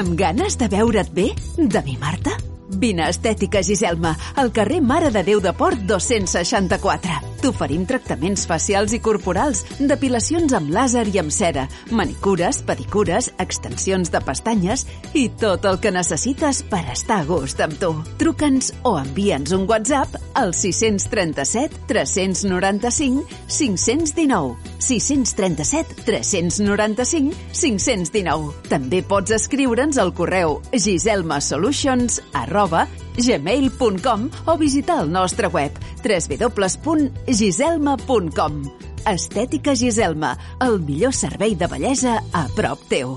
Amb ganes de veure't bé? De mi, Marta? Vine a Estètica Giselma, al carrer Mare de Déu de Port 264. T'oferim tractaments facials i corporals, depilacions amb làser i amb cera, manicures, pedicures, extensions de pestanyes i tot el que necessites per estar a gust amb tu. Truca'ns o envia'ns un WhatsApp al 637 395 519. 637 395 519. També pots escriure'ns al correu giselmasolutions arroba gmail.com o visitar el nostre web www.giselma.com Estètica Giselma, el millor servei de bellesa a prop teu.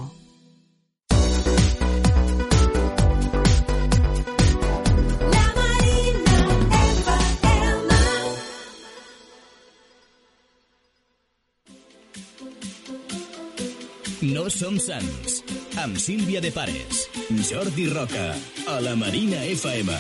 No som sants. Amb Sílvia de Pares, Jordi Roca, a la Marina FM.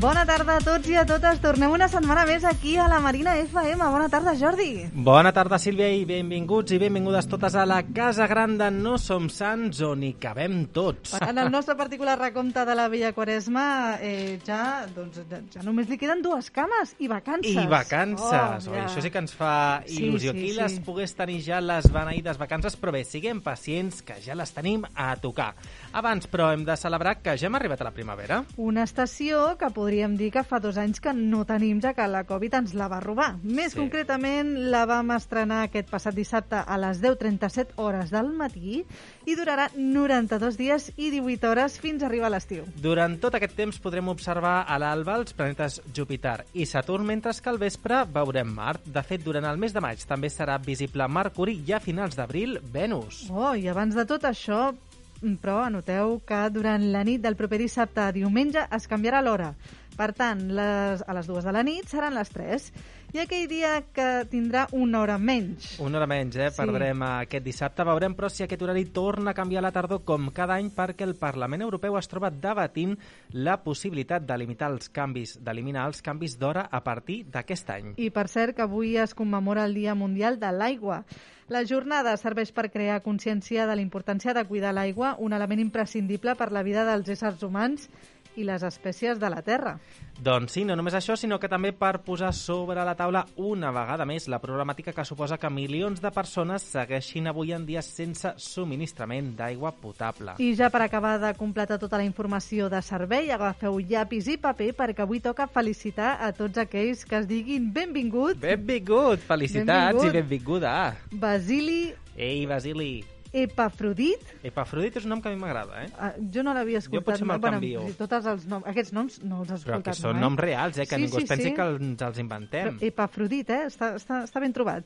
Bona tarda a tots i a totes. Tornem una setmana més aquí a la Marina FM. Bona tarda, Jordi. Bona tarda, Sílvia, i benvinguts i benvingudes totes a la Casa Gran de No Som Sants, on hi cabem tots. En el nostre particular recompte de la Vella Quaresma eh, ja, doncs, ja només li queden dues cames i vacances. I vacances. Oh, ja. Això sí que ens fa Sí, il·lusió. sí, Aquí sí. les pogués tenir ja les beneïdes vacances, però bé, siguem pacients, que ja les tenim a tocar. Abans, però, hem de celebrar que ja hem arribat a la primavera. Una estació que podríem dir que fa dos anys que no tenim, ja que la Covid ens la va robar. Més Sí. sí. concretament, la vam estrenar aquest passat dissabte a les 10.37 hores del matí i durarà 92 dies i 18 hores fins a arribar a l'estiu. Durant tot aquest temps podrem observar a l'alba els planetes Júpiter i Saturn, mentre que al vespre veurem Mart. De fet, durant el mes de maig també serà visible Mercuri i a finals d'abril, Venus. Oh, i abans de tot això, mm, però anoteu que durant la nit del proper dissabte a diumenge es canviarà l'hora. Per tant, les, a les dues de la nit seran les 3 i aquell dia que tindrà una hora menys. Una hora menys, eh? Sí. Perdrem eh, aquest dissabte. Veurem, però, si aquest horari torna a canviar a la tardor com cada any perquè el Parlament Europeu es troba debatint la possibilitat de limitar els canvis, d'eliminar els canvis d'hora a partir d'aquest any. I per cert que avui es commemora el Dia Mundial de l'Aigua. La jornada serveix per crear consciència de la importància de cuidar l'aigua, un element imprescindible per la vida dels éssers humans i les espècies de la Terra. Doncs sí, no només això, sinó que també per posar sobre la taula una vegada més la problemàtica que suposa que milions de persones segueixin avui en dia sense subministrament d'aigua potable. I ja per acabar de completar tota la informació de servei, agafeu llapis i paper perquè avui toca felicitar a tots aquells que es diguin benvingut Benvingut! Felicitats Benvingut. i benvinguda! Basili Ei, Basili! Epafrodit. Epafrodit és un nom que a mi m'agrada, eh? Ah, Jo no l'havia escoltat. potser me'l Bueno, canvio. sí, Tots els noms, aquests noms no els he Però escoltat que són mai. noms reals, eh? Que Sí, ningú sí, es pensi sí. que ens els inventem. Però Epafrodit, eh? Està, està, està ben trobat.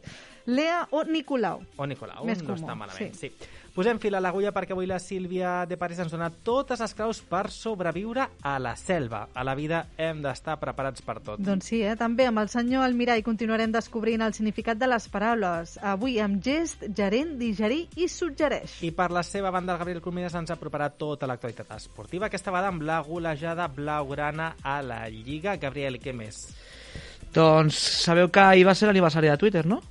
Lea o Nicolau. O Oh, Nicolau, Més no comú, està malament. Sí. sí. Posem fil a l'agulla perquè avui la Sílvia de París ens dona totes les claus per sobreviure a la selva. A la vida hem d'estar preparats per tot. Doncs sí, eh? també amb el senyor Almirall continuarem descobrint el significat de les paraules. Avui amb gest, gerent, digerir i suggereix. I per la seva banda, el Gabriel Colmines ens ha preparat tota l'actualitat esportiva, aquesta vegada amb la golejada blaugrana a la Lliga. Gabriel, què més? Doncs sabeu que ahir va ser l'aniversari de Twitter, no?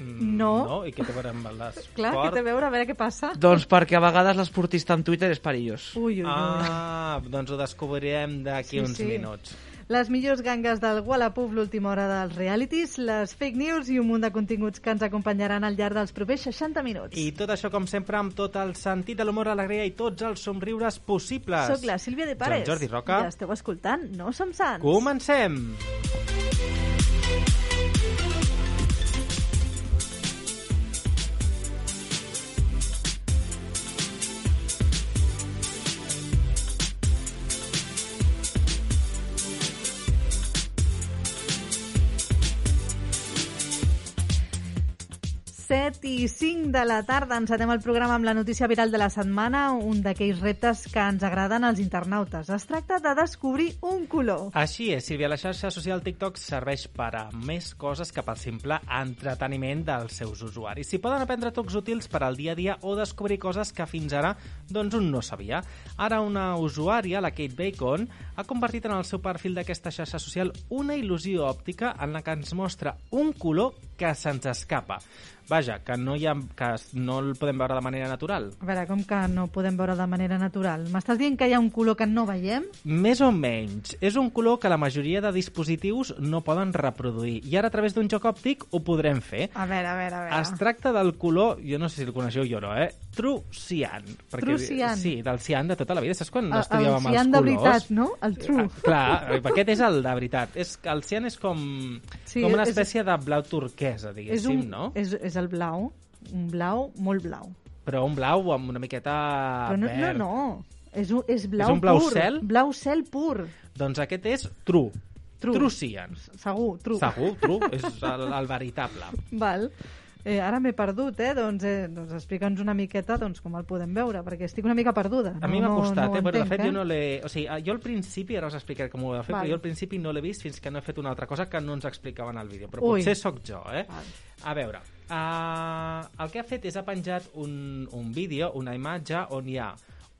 Mm, No. No? I què té a veure amb l'esport? Clar, que té a veure, a veure què passa. Doncs perquè a vegades l'esportista amb Twitter és perillós. Ui, ui, ui. Ah, doncs ho descobrirem d'aquí eh. Sí, uns sí. minuts. Les millors gangues del Wallapop, l'última hora dels realities, les fake news i un munt de continguts que ens acompanyaran al llarg dels propers 60 minuts. I tot això, com sempre, amb tot el sentit de l'humor, alegria i tots els somriures possibles. Soc la Sílvia de Pares. Joan Jordi Roca. I esteu escoltant No Som Sants. Comencem! 7 i 5 de la tarda encetem el programa amb la notícia viral de la setmana, un d'aquells reptes que ens agraden als internautes. Es tracta de descobrir un color. Així és, Sílvia, la xarxa social TikTok serveix per a més coses que pel simple entreteniment dels seus usuaris. S'hi poden aprendre tocs útils per al dia a dia o descobrir coses que fins ara doncs un no sabia. Ara una usuària, la Kate Bacon, ha compartit en el seu perfil d'aquesta xarxa social una il·lusió òptica en la que ens mostra un color que se'ns escapa. Vaja, que no, hi ha, que no el podem veure de manera natural. A veure, com que no podem veure de manera natural? M'estàs dient que hi ha un color que no veiem? Més o menys. És un color que la majoria de dispositius no poden reproduir. I ara, a través d'un joc òptic, ho podrem fer. A veure, a veure, a veure. Es tracta del color, jo no sé si el coneixeu jo o no, eh? Trucian. Perquè- Trucian. Ah, Sí, del cian de tota la vida. Saps quan El- el estudiàvem els cian colors? de veritat, no? El true. Ah, clar, aquest és el de veritat. És, el cian és com, Sí, sí, com una és- espècie de blau turquesa, és, diguéssim, un, no? és, és el blau, un blau molt blau. Però un blau amb una miqueta Però no, no, Ah, verd. no. És un, és blau És un blau pur. cel? Blau cel pur. Doncs aquest és tru. Tru. Trucian. Segur, true. Segur, tru. És el, el veritable. Val. Eh, ara m'he perdut, eh? Doncs, eh, doncs explica'ns una miqueta doncs, com el podem veure, perquè estic una mica perduda. A mi m'ha costat, no, eh? ho Bueno, de entenc, fet, eh? jo no l'he... O sigui, ah, jo al principi, ara us explicaré com ho he fet, Val. però jo al principi no l'he vist fins que no he fet una altra cosa que no ens explicaven al vídeo. Però Ui. potser sóc jo, eh? Val. A veure, uh, el que ha fet és ha penjat un, un vídeo, una imatge, on hi ha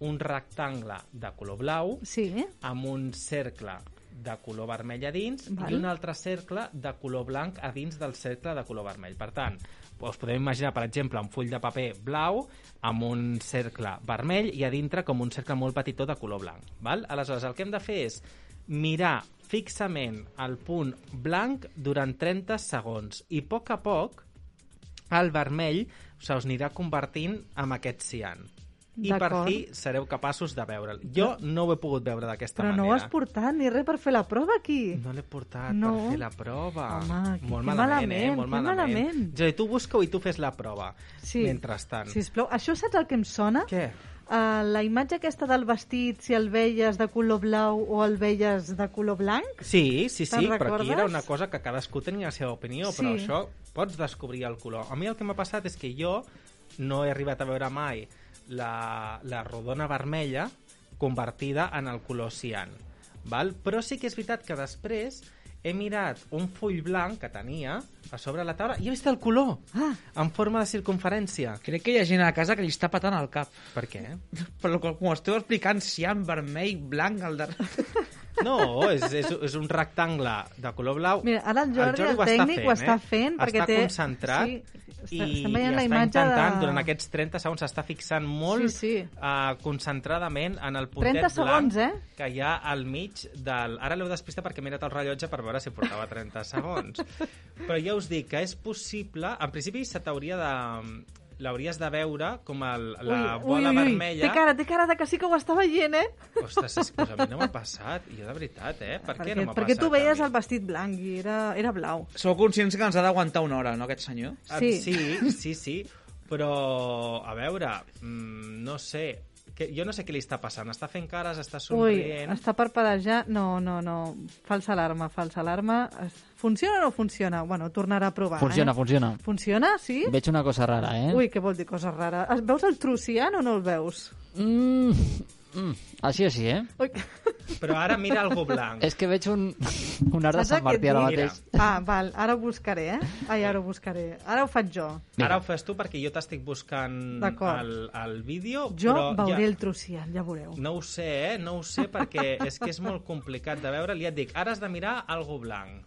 un rectangle de color blau Sí, eh? amb un cercle de color vermell a dins Val. i un altre cercle de color blanc a dins del cercle de color vermell. Per tant, us podeu imaginar, per exemple, un full de paper blau amb un cercle vermell i a dintre com un cercle molt petitó de color blanc. Val? Aleshores, el que hem de fer és mirar fixament el punt blanc durant 30 segons i a poc a poc el vermell se us anirà convertint en aquest cian. I per D'acord. fi sereu capaços de veure'l. Jo no ho he pogut veure d'aquesta Però manera. no ho has portat ni res per fer la prova aquí. No l'he portat no. No. per fer la prova. Home, que- molt que malament, eh? malament, Molt que malament. malament. Jo, tu busca-ho i tu fes la prova. Mentrestant. Sisplau, això saps el que em sona? Què? Uh, la imatge aquesta del vestit, si el veies de color blau o el veies de color blanc? Sí, sí, sí, Te'n però aquí recordes? era una cosa que cadascú tenia la seva opinió, però Sí. això pots descobrir el color. A mi el que m'ha passat és que jo no he arribat a veure mai la, la rodona vermella convertida en el color cian. Val? Però sí que és veritat que després he mirat un full blanc que tenia a sobre la taula i he vist el color Ah. en forma de circunferència. Crec que hi ha gent a casa que li està patant al cap. Per què? Però com com ho esteu explicant, cian, vermell, blanc, al darrere... No, és, és, és un rectangle de color blau. Mira, ara el Jordi, el, ho està tècnic, ho està eh? fent, perquè està té... concentrat Sí, està, i, estem i veient la està imatge intentant, de... durant aquests 30 segons, s'està fixant molt Sí, sí. eh, concentradament en el puntet 30 segons, blanc eh? que hi ha al mig del... Ara l'heu despistat perquè he mirat el rellotge per veure si portava 30 segons. Però ja us dic que és possible... En principi se t'hauria de l'hauries de veure com el, la bola vermella... Té cara, té cara de que sí que ho està veient, eh? Ostres, és que a mi no m'ha passat. Jo de veritat, eh? Per què no m'ha passat? perquè tu a veies mi? el vestit blanc i era, era blau. Sou conscients que ens ha d'aguantar una hora, no, aquest senyor? Ah, Sí. Sí, sí, sí. Però, a veure, mm, no sé... Que, jo no sé què li està passant. Està fent cares, està Ui, somrient... està per parejar... No, no, no. Falsa alarma, falsa alarma. Es- Funciona o no funciona? Bueno, tornarà a provar, Funciona, eh? funciona. Funciona, sí? Veig una cosa rara, eh? Ui, què vol dir cosa rara. Es- Veus el trucian o no el veus? Mm, mm, així o sí, eh? Ui. Però ara mira algú blanc. És que veig un, un arc de Saps Sant aquest Martí ara dia? mateix. Ah, val, ara ho buscaré, eh? Ai, ara ho buscaré. Ara ho faig jo. Ara ho fes tu perquè jo t'estic buscant D'acord. el, el vídeo, Jo però veuré ja, el trucian, ja veureu. no ho sé, eh? No ho sé perquè és que és molt complicat de veure. Li et dic, ara has de mirar algú blanc.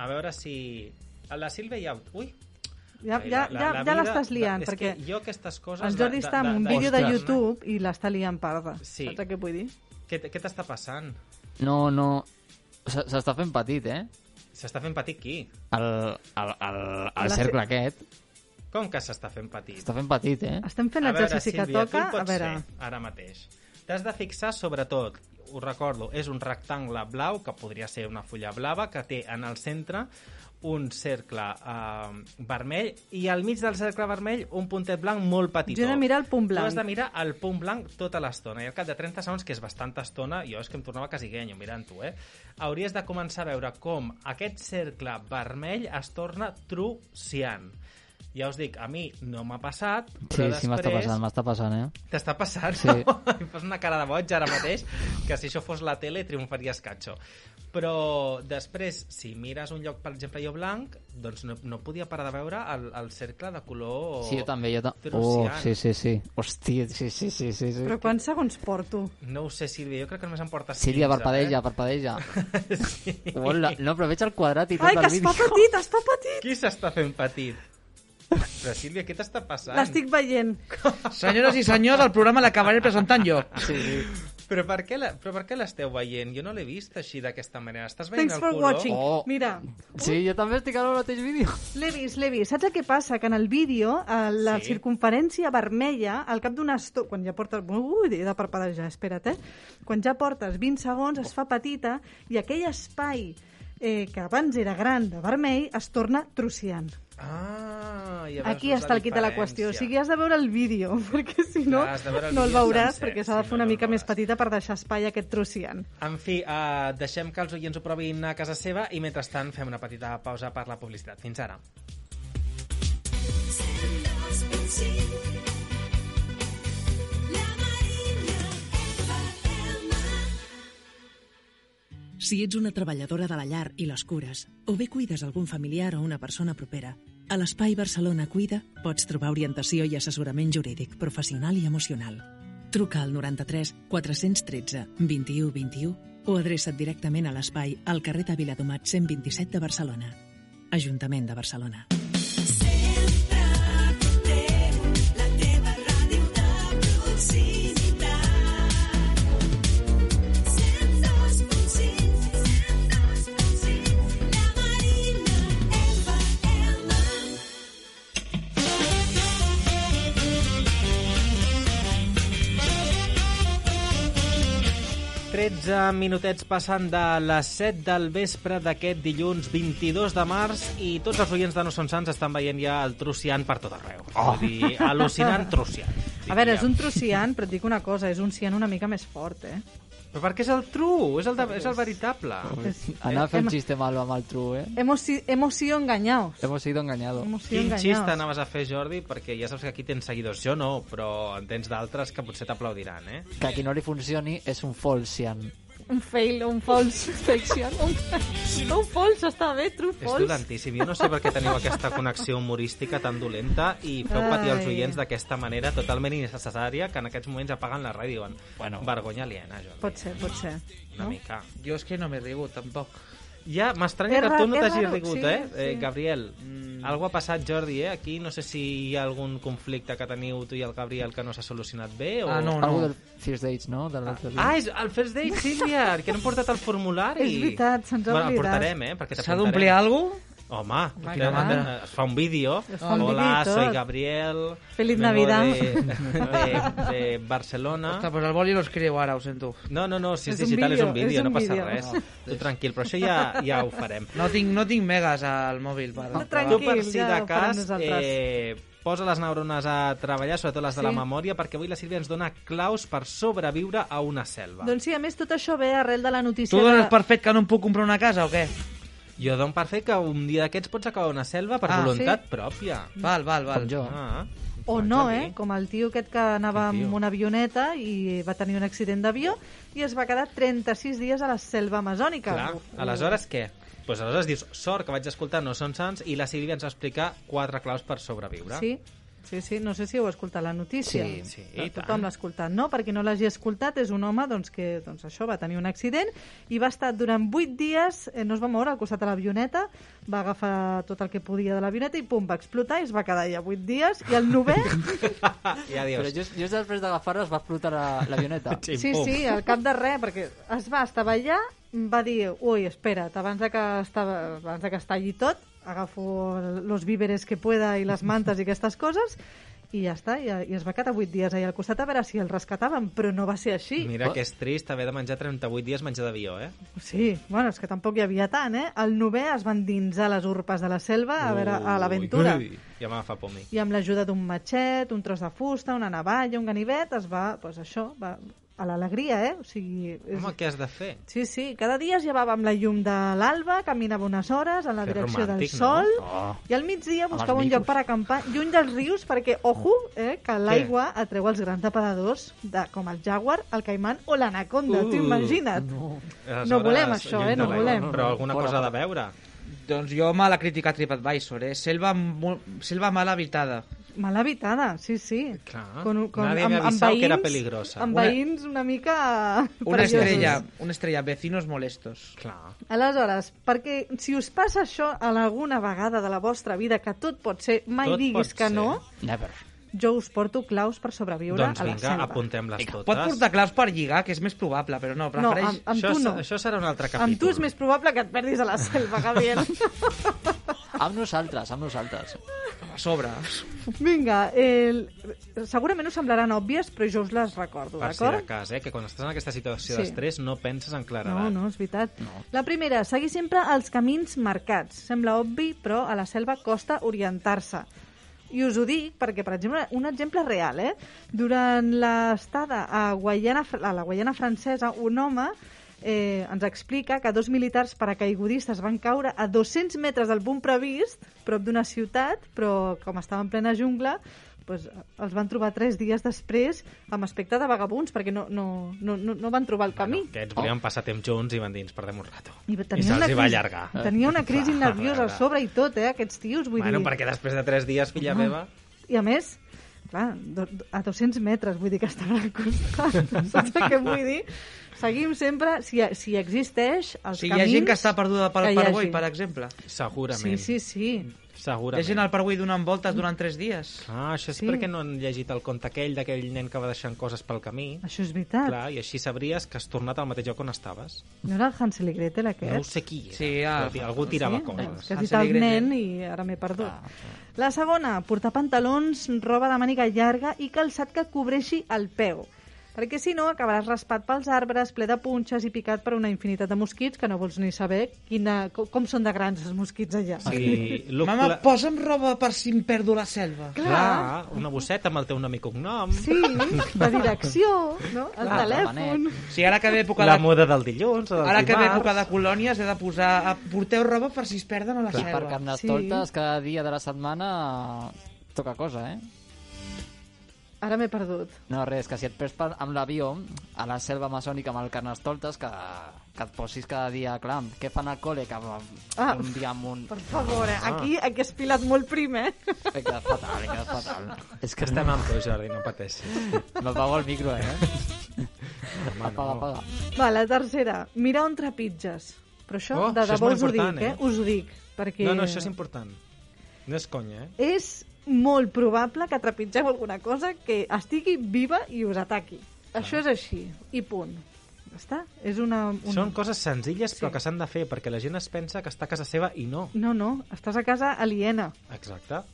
A veure si... A la Sílvia ja... Ui, Ja, Ai, ja, la- la- ja, la ja vida- l'estàs liant, és que perquè jo aquestes coses... el de- Jordi de- està de- en un vídeo de Ostres. YouTube i l'està liant parda. Sí. Saps què vull dir? Què, què t'està passant? No, no... S- S'està fent petit, eh? S'està fent petit qui? El, el, el, La el ce- cercle aquest. Com que s'està fent petit? S'està fent petit, eh? Estem fent l'exercici que Sílvia, tu toca. hi pots A veure, Ser, ara mateix. T'has de fixar, sobretot, ho recordo, és un rectangle blau, que podria ser una fulla blava, que té en el centre un cercle eh, vermell i al mig del cercle vermell un puntet blanc molt petit. Jo he de mirar el punt blanc. Tu has de mirar el punt blanc tota l'estona. I al cap de 30 segons, que és bastanta estona, jo és que em tornava quasi guenyo mirant-ho, eh? Hauries de començar a veure com aquest cercle vermell es torna truciant. Ja us dic, a mi no m'ha passat, Sí, però sí, m'està després passant, m'està passant, eh? T'està passant, Sí. sí. no? Em fas una cara de boig ara mateix, que si això fos la tele triomfaria Escatxo. Però després, si mires un lloc, per exemple, jo blanc, doncs no, no podia parar de veure el, el cercle de color... Sí, jo també, jo també. Oh, Truciant. sí, sí, sí. Hòstia, sí, sí, sí, sí. sí. Però quants segons porto? No ho sé, Sílvia, jo crec que només em portes Sílvia, 15, parpadeja, Eh? parpadeja. Hola, no, però veig el quadrat i tot Ai, que el es vídeo. fa petit, es fa petit! Qui s'està fent petit? Però Sílvia, què t'està passant? L'estic veient. Senyores i senyors, el programa l'acabaré presentant jo. Sí, sí. Però per què la- però per què l'esteu veient? Jo no l'he vist així d'aquesta manera. Estàs veient Thanks el for color? watching. Oh. Mira, sí, jo també estic ara al mateix vídeo. l'he vist, l'he vist. Saps el que passa? Que en el vídeo, a la Sí. circunferència vermella, al cap d'una estona, quan ja portes... Ui, he de parpadejar, espera't, eh? Quan ja portes 20 segons, es fa petita i aquell espai eh, que abans era gran de vermell es torna truciant. Ah, ja veus, Aquí veus està el kit de la qüestió. O diferència. sigui, has de veure el vídeo, perquè si no, Clar, has de veure el no el vídeo veuràs, sencer, perquè s'ha de si fer no, una no el mica més veuràs. petita per deixar espai a aquest truciant. En fi, uh, deixem que els oients ho provin a casa seva i mentrestant fem una petita pausa per la publicitat. Fins ara. Si ets una treballadora de la llar i les cures, o bé cuides algun familiar o una persona propera, a l'Espai Barcelona Cuida pots trobar orientació i assessorament jurídic, professional i emocional. Truca al 93 413 21 21 o adreça't directament a l'espai al carrer de Viladomat 127 de Barcelona. Ajuntament de Barcelona. Exacte. 13 minutets passant de les 7 del vespre d'aquest dilluns 22 de març i tots els oients de No Són Sants estan veient ja el truciant per tot arreu. Oh. Vull dir, al·lucinant truciant. A veure, és un truciant, però et dic una cosa, és un cian una mica més fort, eh? Però perquè és el tru, és el, de, és el veritable. Anar fent Hem- xiste mal amb el tru, eh? Hemos, si- hemos sido engañados. Hemos sido engañados. Hemos sido Quin xista engañados. anaves a fer, Jordi? Perquè ja saps que aquí tens seguidors. Jo no, però en tens d'altres que potser t'aplaudiran, eh? Que a qui no li funcioni és un falsian. Un fail, un fals. Fiction. Un, un fals, està bé, true És fals. dolentíssim. Jo no sé per què teniu aquesta connexió humorística tan dolenta i feu patir els Ai. oients d'aquesta manera totalment innecessària que en aquests moments apaguen la ràdio i diuen bueno. vergonya aliena, Jordi. Pot ser, pot ser. Una mica. Jo és que no me rigo, tampoc. Ja, m'estranya És que tu raro, no és t'hagis raro, rigut, sí, eh? sí. eh? Gabriel, mm. algo ha passat, Jordi, eh? Aquí no sé si hi ha algun conflicte que teniu tu i el Gabriel que no s'ha solucionat bé o... Ah, no, Algo no. del First Dates, no? De l'altre dia. Ah, és el first date, Sílvia, que no hem portat el formulari. És veritat, se'ns ha bueno, el oblidat. portarem, eh? perquè S'ha t'apuntarem. d'omplir alguna cosa? Home, Home, clar, clar. es fa un vídeo. Es fa un Hola, vídeo i soy tot. Gabriel. Feliz vengo Navidad. De, de, de Barcelona. Ah. Ostres, pues el boli no escriu ara, ho sento. No, no, no, si és, És un digital és un vídeo, vídeo, és no un passa vídeo. Ah. res. Tu tranquil, però això ja, ja ho farem. No tinc, no tinc megas al mòbil. Per, per- Tranquil. Tu, per si ja de ho farem cas, nosaltres. eh, posa les neurones a treballar, sobretot les de la Sí. memòria, perquè avui la Sílvia ens dona claus per sobreviure a una selva. Doncs sí, a més, tot això ve arrel de la notícia... Tu dones de... per fet que no em puc comprar una casa o què? Jo dono per fer que un dia d'aquests pots acabar una selva per Ah, voluntat pròpia. Val, val, val. Com jo. Ah, Oh. O vaig no, a dir. eh? Com el tio aquest que anava Quin tio? amb una avioneta i va tenir un accident d'avió i es va quedar 36 dies a la selva amazònica. Clar, aleshores què? Doncs aleshores dius, sort que vaig escoltar No Són Sants i la Sílvia ens va explicar quatre claus per sobreviure. Sí, sí, sí, no sé si heu escoltat la notícia. Sí, sí, i Però tant. Tothom l'ha escoltat, no? Per qui no l'hagi escoltat, és un home doncs, que doncs, això va tenir un accident i va estar durant vuit dies, eh, no es va moure al costat de l'avioneta, va agafar tot el que podia de l'avioneta i pum, va explotar i es va quedar ja vuit dies i el novè... Ah, I ja Però dius, just, just després d'agafar-la es va explotar la- l'avioneta. xim, Sí, pum. sí, al cap de res, perquè es va estavellar, va dir, ui, espera't, abans de que, estava, abans de que està allí tot, agafo los víveres que pueda i les mantes i aquestes coses, i ja està, i, i es va quedar 8 dies ahir al costat a veure si el rescataven, però no va ser així. Mira Ah. que és trist haver de menjar 38 dies menjar d'avió, eh? Sí, bueno, és que tampoc hi havia tant, eh? El novè es va endinsar a les urpes de la selva, a veure, a l'aventura. Ui, Ja me fa por a mi. I amb l'ajuda d'un matxet, un tros de fusta, una navalla, un ganivet, es va, doncs això, va, a l'alegria, eh? O sigui, és, Home, què has de fer? Sí, sí, cada dia es llevava amb la llum de l'alba, caminava unes hores en la Que direcció del romàntic, no? sol Oh. i al migdia buscava un micos. lloc per acampar lluny dels rius perquè, ojo, eh, que l'aigua atreu els grans depredadors de, com el jaguar, el caiman o l'anaconda, Uh, t'ho imagina't. No Aleshores, volem això, lluny eh, no de la- volem. Però alguna Fora, cosa ha de fora. veure. Doncs jo me l'ha criticat TripAdvisor, eh? Selva, mo- selva mal habitada. Mal habitada, sí, sí. Clar. Nadie amb- me amb avisau que era peligrosa. Amb Una- veïns una mica... Una perillosos. estrella, una estrella, vecinos molestos. Clar. Aleshores, perquè si us passa això en alguna vegada de la vostra vida, que tot pot ser, mai Tot diguis pot que ser. no, Never. jo us porto claus per sobreviure Doncs a la vinga, selva. apuntem-les totes. Pot portar claus per lligar, que és més probable, però no, No, prefereix... amb, amb això, tu és- no. Això serà un altre capítol. Amb tu és més probable que et perdis a la selva, Gabriel. Amb nosaltres, amb nosaltres. a sobre. Vinga, el... segurament us semblaran òbvies, però jo us les recordo, Per si de d'acord? cas, eh? Que quan estàs en aquesta situació Sí. d'estrès no penses en No, claredat. no, és veritat. No. La primera, seguir sempre els camins marcats. Sembla obvi, però a la selva costa orientar-se. I us ho dic perquè, per exemple, un exemple real, eh? Durant l'estada a, Guaiana, a la Guaiana francesa, un home eh, ens explica que dos militars paracaigudistes van caure a 200 metres del punt previst, prop d'una ciutat, però com estava en plena jungla, doncs, els van trobar tres dies després amb aspecte de vagabunds, perquè no, no, no, no no van trobar el camí. Que ens volien passar temps junts i van dir, ens perdem un rato. I tenia se'ls una hi crisi, va allargar. Tenia una crisi Clar, nerviosa a clar. sobre i tot, eh, aquests tios, vull Bueno, dir... perquè després de tres dies, filla meva... I a més, clar, do, do- a 200 metres, vull dir que estan al costat, saps què vull dir? Seguim sempre, si, si existeix, O els sigui, hi camins... ha gent que està perduda per, que hi per hagi. Boi, per exemple. Segurament. Sí, sí, sí. Hi Segurament. ha gent al Parguí donant voltes durant tres dies. Ah, això és Sí. perquè no han llegit el conte aquell d'aquell nen que va deixant coses pel camí. Això és veritat. Clar, i així sabries que has tornat al mateix lloc on estaves. No era el Hansel i Gretel, aquest? No ho sé qui era, Sí, però ah, ti- algú tirava Sí? Doncs coses. Que has dit Hansel i el Gretel. nen i ara m'he perdut. Ah, La segona, portar pantalons, roba de màniga llarga i calçat que cobreixi el peu. Perquè si no, acabaràs raspat pels arbres, ple de punxes i picat per una infinitat de mosquits que no vols ni saber quina, co- com són de grans els mosquits allà. Sí, look Mama, pla- posa'm roba per si em perdo la selva. clar, una bosseta amb el teu nom i cognom. Sí, la direcció, no? el Clar, telèfon... Manet. Si ara que ve època La de, moda del dilluns o del ara que ve dimarts. època de colònies he de posar... a- Porteu roba per si es perden a la I per selva. Carnestoltes, cada dia de la setmana toca cosa, eh? Ara m'he perdut. No, res, que si et perds per- amb l'avió a la selva amazònica amb el Carnestoltes, que, que et posis cada dia, clar, què fan al col·le? Que Ah. ah. un dia amb un... Per favor, eh? Ah. aquí, aquí has pilat molt prim, eh? He quedat fatal, he quedat fatal. És Que estem amb tu, Jordi, no pateixis. M'apago el micro, eh? Home, Apaga, apaga. Va, la tercera, mirar on trepitges. Però això, Oh, de això és debò molt us ho dic, important, eh? eh? Us ho dic, perquè... No, no, això és important. No és conya, eh? És molt probable que trepitgeu alguna cosa que estigui viva i us ataqui. Això és així, i punt. Ja Està? És una... Un... Són coses senzilles però que s'han de fer perquè la gent es pensa que està a casa seva i no. No, no, estàs a casa aliena. Exacte.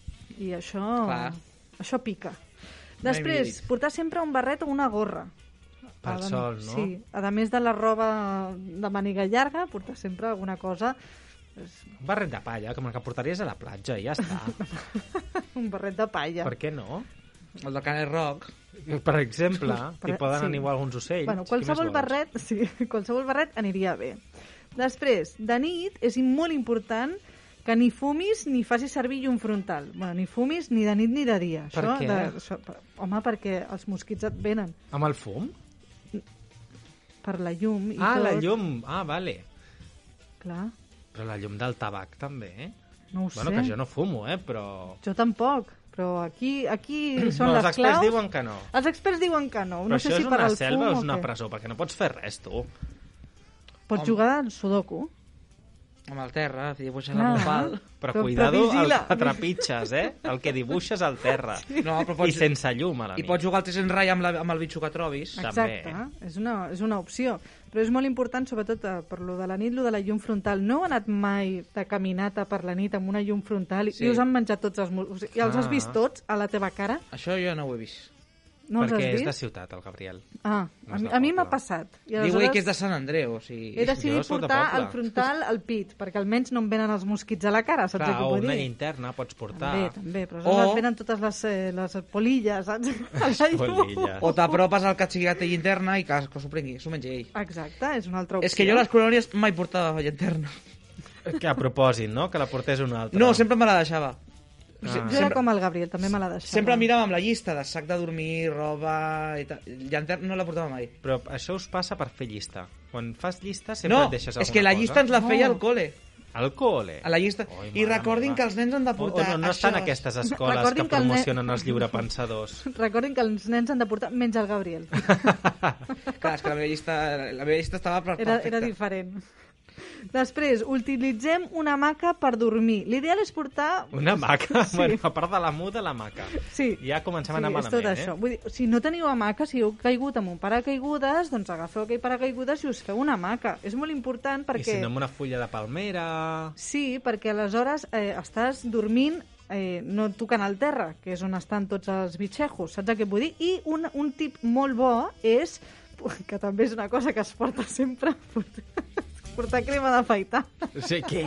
I això... Clar. Això pica. Mai m'hi he Després, dit. portar sempre un barret o una gorra. Pel A sol, no? Sí, a més de la roba de màniga llarga, portar sempre alguna cosa... Un barret de palla, com el que portaries a la platja i ja està. Un barret de palla. per què no? El de Canet Rock. Per exemple, Per- hi poden sí. sí. animar alguns ocells. Bueno, Qui més qualsevol vols? barret, sí, qualsevol barret aniria bé. Després, de nit és molt important que ni fumis ni facis servir llum frontal. Bueno, ni fumis ni de nit ni de dia. Per això, què? De, això, per, home, perquè els mosquits et venen Amb el fum? per la llum i ah, tot. la llum. Ah, vale. Clar, Però la llum del tabac també, eh? no ho Bueno, sé. que jo no fumo, eh? Però... Jo tampoc, però aquí, aquí són no, els les experts claus. diuen que no. Els experts diuen que no. Però no això sé si és per una al selva fum o és una què. presó, perquè no pots fer res, tu. Pots jugar al sudoku. Amb el terra, dibuixes Clar. amb un pal. Però, Però- cuidado però el vigila. que trepitges, eh? El que dibuixes al terra. No, però I pots, sense llum a la I nit. pots jugar al tres en rai amb, la, amb el bitxo que trobis. Ah. també. Exacte, és una, és una opció. Però és molt important, sobretot eh, per lo de la nit, lo de la llum frontal. No heu anat mai de caminata per la nit amb una llum frontal i- Sí. i us han menjat tots els... mol- O sigui, ja els has Ah. vist tots a la teva cara? Això jo no ho he vist. No els perquè has és de vist? ciutat, el Gabriel. Ah, No a, és mi- del a mi m'ha poble. passat. I Diu ell que és de Sant Andreu, o sigui... He jo decidit sóc de portar poble. el frontal al pit, perquè almenys no em venen els mosquits a la cara, saps Clar, què o vull una dir? llinterna pots portar. També, també, però O- o... et venen totes les, eh, les polilles, saps? A la llum. Polilla. O t'apropes al catxí que té llinterna i que, que s'ho prengui, s'ho mengi ell. Exacte, és una altra opció. És que jo a les colònies mai portava llinterna. Que a propòsit, no? Que la portés una altra. Ah. No, sempre me la deixava. Jo era com el Gabriel, també me l'ha deixat. Sempre mirava amb la llista de sac de dormir, roba... I tal. Llanterna no la portava mai. Però això us passa per fer llista. Quan fas llista sempre no, et deixes és que la cosa. llista ens la feia No. al col·le. Al cole. A la llista. Oi, I mare recordin meva. que els nens han de O, portar o no, no això. estan aquestes escoles Recordin que que el nen- promocionen els lliurepensadors. Recordin que els nens han de portar menys el Gabriel. Clar, és que la meva llista, la meva llista estava per- Era, perfecta. era diferent. Després, utilitzem una hamaca per dormir. L'ideal és portar... Una maca. Sí. Sí. Bueno, a part de la muda, la maca. Sí. Ja comencem a anar és tot malament, això. eh? Vull dir, si no teniu hamaca, si heu caigut amb un paracaigudes, doncs agafeu aquell paracaigudes i us feu una hamaca. És molt important I si perquè... no amb una fulla de palmera... Sí, perquè aleshores eh, estàs dormint eh, no tocant al terra, que és on estan tots els bitxejos, saps què vull dir? I un, un tip molt bo és, que també és una cosa que es porta sempre, portar, portar crema d'afaitar. Sí, què?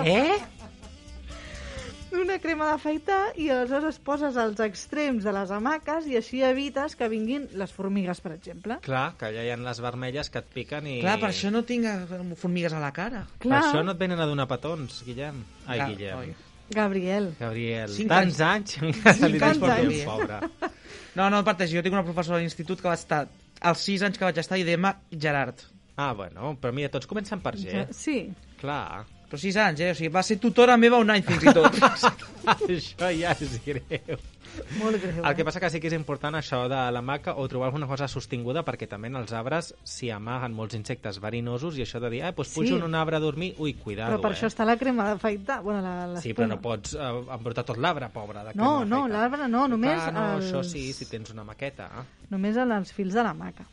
Una crema d'afaitar i aleshores poses als extrems de les hamaques i així evites que vinguin les formigues, per exemple. Clar, que ja hi ha les vermelles que et piquen i... Clar, per això no tinc eh, formigues a la cara. Per això no et venen a donar petons, Guillem. Ai, Clar, Guillem. oi. Gabriel. Gabriel, Cinc tants anys, encara li tens anys. per dir, Cinc pobre. No, no parteix. Jo tinc una professora a l'institut que va estar als 6 anys que vaig estar i demà Gerard. Ah, bueno, però mira, tots comencen per G. Sí. Clar. Però 6 anys, eh? O sigui, va ser tutora meva un any fins i tot. Això ja és greu. Molt greu. eh? El que passa que sí que és important això de la maca o trobar alguna cosa sostinguda perquè també en els arbres s'hi amaguen molts insectes verinosos i això de dir, ah, doncs pujo Sí. en un arbre a dormir, ui, cuidado, Però per eh? això està la crema d'afaitar. Bueno, la, l'espuma. Sí, però no pots eh, embrutar tot l'arbre, pobre. No, De crema no, afaitada. l'arbre no, només Ah, no, els- això sí, si tens una maqueta. Només en els fils de la maca.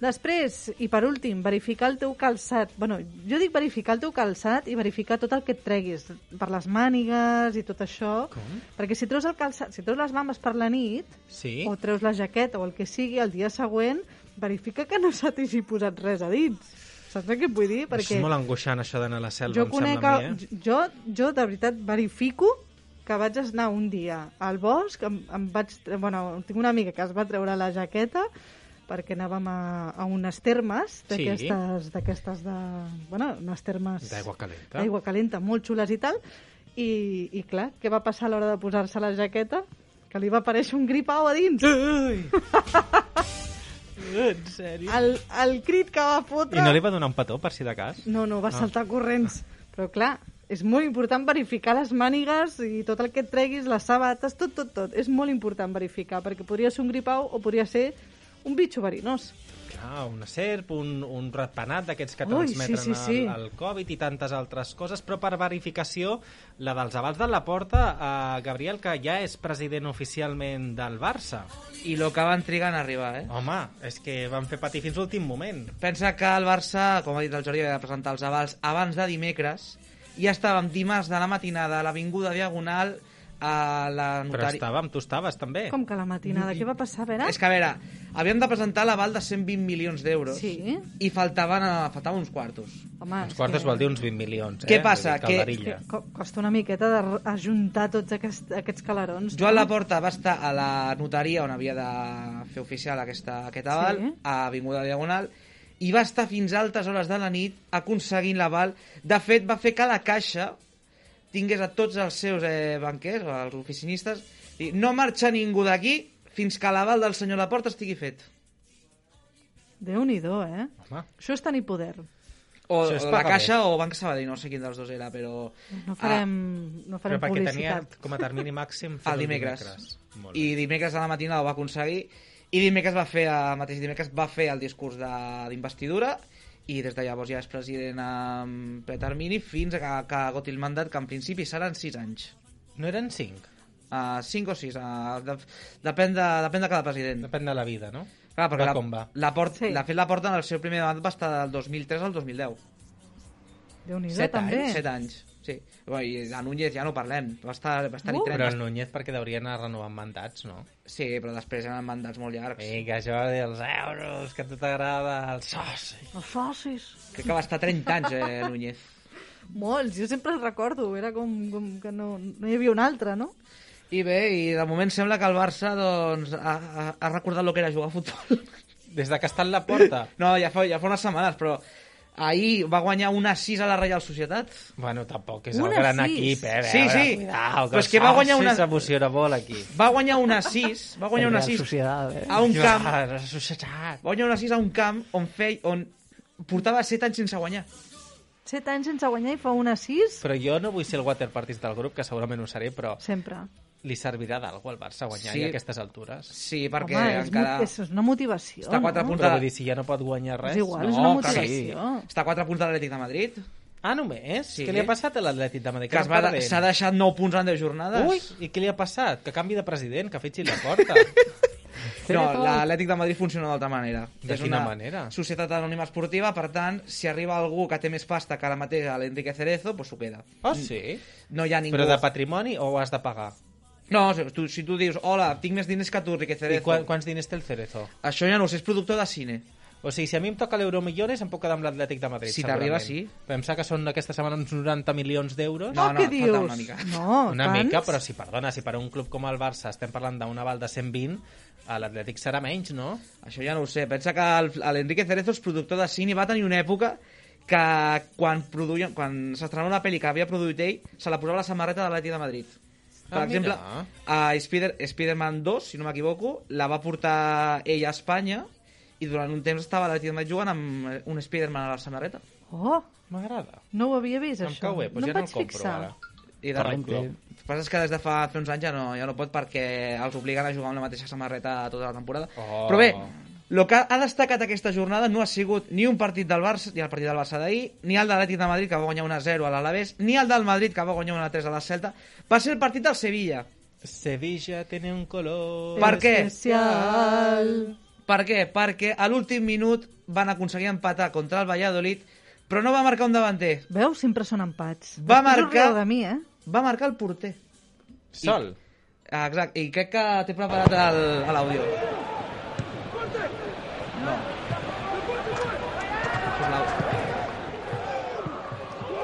Després, i per últim, verificar el teu calçat. bueno, jo dic verificar el teu calçat i verificar tot el que et treguis, per les mànigues i tot això. Com? Perquè si treus el calçat, si treus les mames per la nit, Sí? o treus la jaqueta o el que sigui, el dia següent, verifica que no se t'hagi posat res a dins. Saps què et vull dir? Perquè És molt angoixant això d'anar a la selva, jo em conec... sembla a el- mi, eh? Jo, jo, de veritat, verifico que vaig anar un dia al bosc, em, em vaig... tre- Bueno, tinc una amiga que es va treure la jaqueta perquè anàvem a, a unes termes d'aquestes d'aquestes de... Bueno, unes termes... D'aigua calenta. D'aigua calenta, molt xules i tal. I, i clar, què va passar a l'hora de posar-se la jaqueta? Que li va aparèixer un gripau a dins. En sèrio? El, el crit que va fotre... I no li va donar un petó, per si de cas? No, no, va Ah. saltar corrents. Però clar, és molt important verificar les mànigues i tot el que et treguis, les sabates, tot, tot, tot. És molt important verificar, perquè podria ser un gripau o podria ser un bitxo verinós. Clar, una serp, un, un ratpenat d'aquests que Ui, transmeten sí, sí, sí. El, el Covid i tantes altres coses, però per verificació, la dels avals de la porta, eh, Gabriel, que ja és president oficialment del Barça. I lo que van trigar en arribar, eh? Home, és que van fer patir fins l'últim moment. Pensa que el Barça, com ha dit el Jordi, havia de presentar els avals abans de dimecres i ja estàvem dimarts de la matinada a l'Avinguda Diagonal a la Però notari... estàvem, tu estaves també. Com que la matinada, què va passar, a veure? És que, a veure, havíem de presentar l'aval de 120 milions d'euros Sí. i faltaven, eh, faltaven uns quartos. Home, Els quartos vol dir uns 20 milions, Què eh? passa? Vull dir, Que- calderilla. Co- Costa una miqueta de r- ajuntar tots aquests, aquests calarons. Joan Laporta va estar a la notaria on havia de fer oficial aquesta, aquest aval, Sí. sí. a Avinguda Diagonal, i va estar fins a altes hores de la nit aconseguint l'aval. De fet, va fer que la caixa tingués a tots els seus eh, banquers, o els oficinistes, i no marxa ningú d'aquí fins que l'aval del senyor Laporta estigui fet. Déu-n'hi-do, eh? Home, Això és tenir poder. O, o Això és la pagar caixa o Banc Sabadell, no sé quin dels dos era, però... No farem, no Ah, però farem perquè tenia publicitat. com a termini màxim Ah, fer el dimecres. Molt I bé. dimecres a la matina ho va aconseguir i dimecres va fer, el mateix dimecres va fer el discurs de- d'investidura i des de llavors ja és president en pretermini fins a que, que agoti el mandat, que en principi seran 6 anys. No eren cinc? Uh, 5 o 6, uh, de, depèn, de, depèn de cada president. Depèn de la vida, no? Clar, perquè va la, com va. La, port, Sí. sí. la fet la porta en el seu primer mandat va estar del 2003 al 2010. Déu-n'hi-do, Set també. anys, set anys. Sí. Bé, I de Núñez ja no parlem. Va estar, va estar Uh. uh, 30. Però el Núñez perquè deurien anar renovant mandats, no? Sí, però després eren mandats molt llargs. I que això dels euros, que a tu t'agrada el soci. Els socis. Crec que va estar 30 anys, eh, Núñez. Molts, jo sempre els recordo. Era com, com que no, no hi havia un altre, no? I bé, i de moment sembla que el Barça doncs, ha, ha, ha recordat el que era jugar a futbol. Des de que està en la porta. No, ja fa, ja fa unes setmanes, però ahir va guanyar una 6 a la Reial Societat. Bueno, tampoc és el Una gran sis. equip, eh? A Sí, veure, sí. Cuidao, que Però és que va guanyar una- s'emociona molt aquí. Va guanyar una 6, va guanyar El una Real 6 Sociedad, eh? a un camp, va Ah, la societat. guanyar una 6 a un camp on fei, on portava 7 anys sense guanyar. Set anys sense guanyar i fa una sis. Però jo no vull ser el waterpartist del grup, que segurament ho seré, però Sempre. li servirà d'algú al Barça guanyar Sí. sí. a aquestes altures. Sí, perquè Home, és, encara... mo- és, és una motivació. Està a quatre no? punts. Però vull dir, si ja no pot guanyar res... És igual, és eh? no, una clar que sí. motivació. Està a 4 punts de l'Atlètic de Madrid, Ah, només? Sí. Sí. Què li ha passat a l'Atlètic de Madrid? que es va de- s'ha deixat 9 punts en 10 jornades. Ui, i què li ha passat? Que canvi de president, que fitxi la porta. No, l'Atlètic de Madrid funciona d'altra manera. De quina manera? societat anònima esportiva, per tant, si arriba algú que té més pasta que ara mateix a l'Enrique Cerezo, doncs s'ho queda. oh, sí? No hi ha ningú... Però de patrimoni o ho has de pagar? No, si tu, si tu dius, hola, tinc més diners que tu, Enrique I Cerezo. quan, quants diners té el Cerezo? Això ja no ho sé, és productor de cine. O sigui, si a mi em toca l'Euromillones, em puc quedar amb l'Atlètic de Madrid, Si t'arriba, segurament. sí. Pensar que són aquesta setmana uns 90 milions d'euros... No, Oh, no, què et falta dius? una mica. No, una tants? mica, però si, perdona, si per a un club com el Barça estem parlant d'un aval de 120, a l'Atlètic serà menys, no? Això ja no ho sé. Pensa que el- l'Enrique Cerezo és productor de cine i va tenir una època que quan, produïa, quan s'estrenava una pel·li que havia produït ell, se la posava a la samarreta de l'Atlètic de Madrid. Per Ah, exemple, mira. a Spider, Spider-Man 2, si no m'equivoco, la va portar ell a Espanya i durant un temps estava l'Atlètic de Madrid jugant amb eh, un Spider-Man a la samarreta. Oh, M'agrada. no ho havia vist, Em això. cau bé, doncs no ja em no vaig el compro, fixar. ara. I de Correcte. El que passa és que des de fa, fa uns anys ja no, ja no pot perquè els obliguen a jugar amb la mateixa samarreta tota la temporada. Oh. Però bé, el que ha destacat aquesta jornada no ha sigut ni un partit del Barça, ni el partit del Barça d'ahir, ni el de l'Atlètic de Madrid, que va guanyar 1 0 a l'Alavés, ni el del Madrid, que va guanyar 1 3 a la Celta. Va ser el partit del Sevilla. Sevilla tiene un color... Per què? Especial. Per què? Perquè a l'últim minut van aconseguir empatar contra el Valladolid, però no va marcar un davanter. Veus? Sempre són empats. Va Després us marcar- rieu de mi, eh? Va marcar el porter. Sol. Ah, Exacte, i crec que t'he preparat el- a l'àudio. No. Això és l'àudio.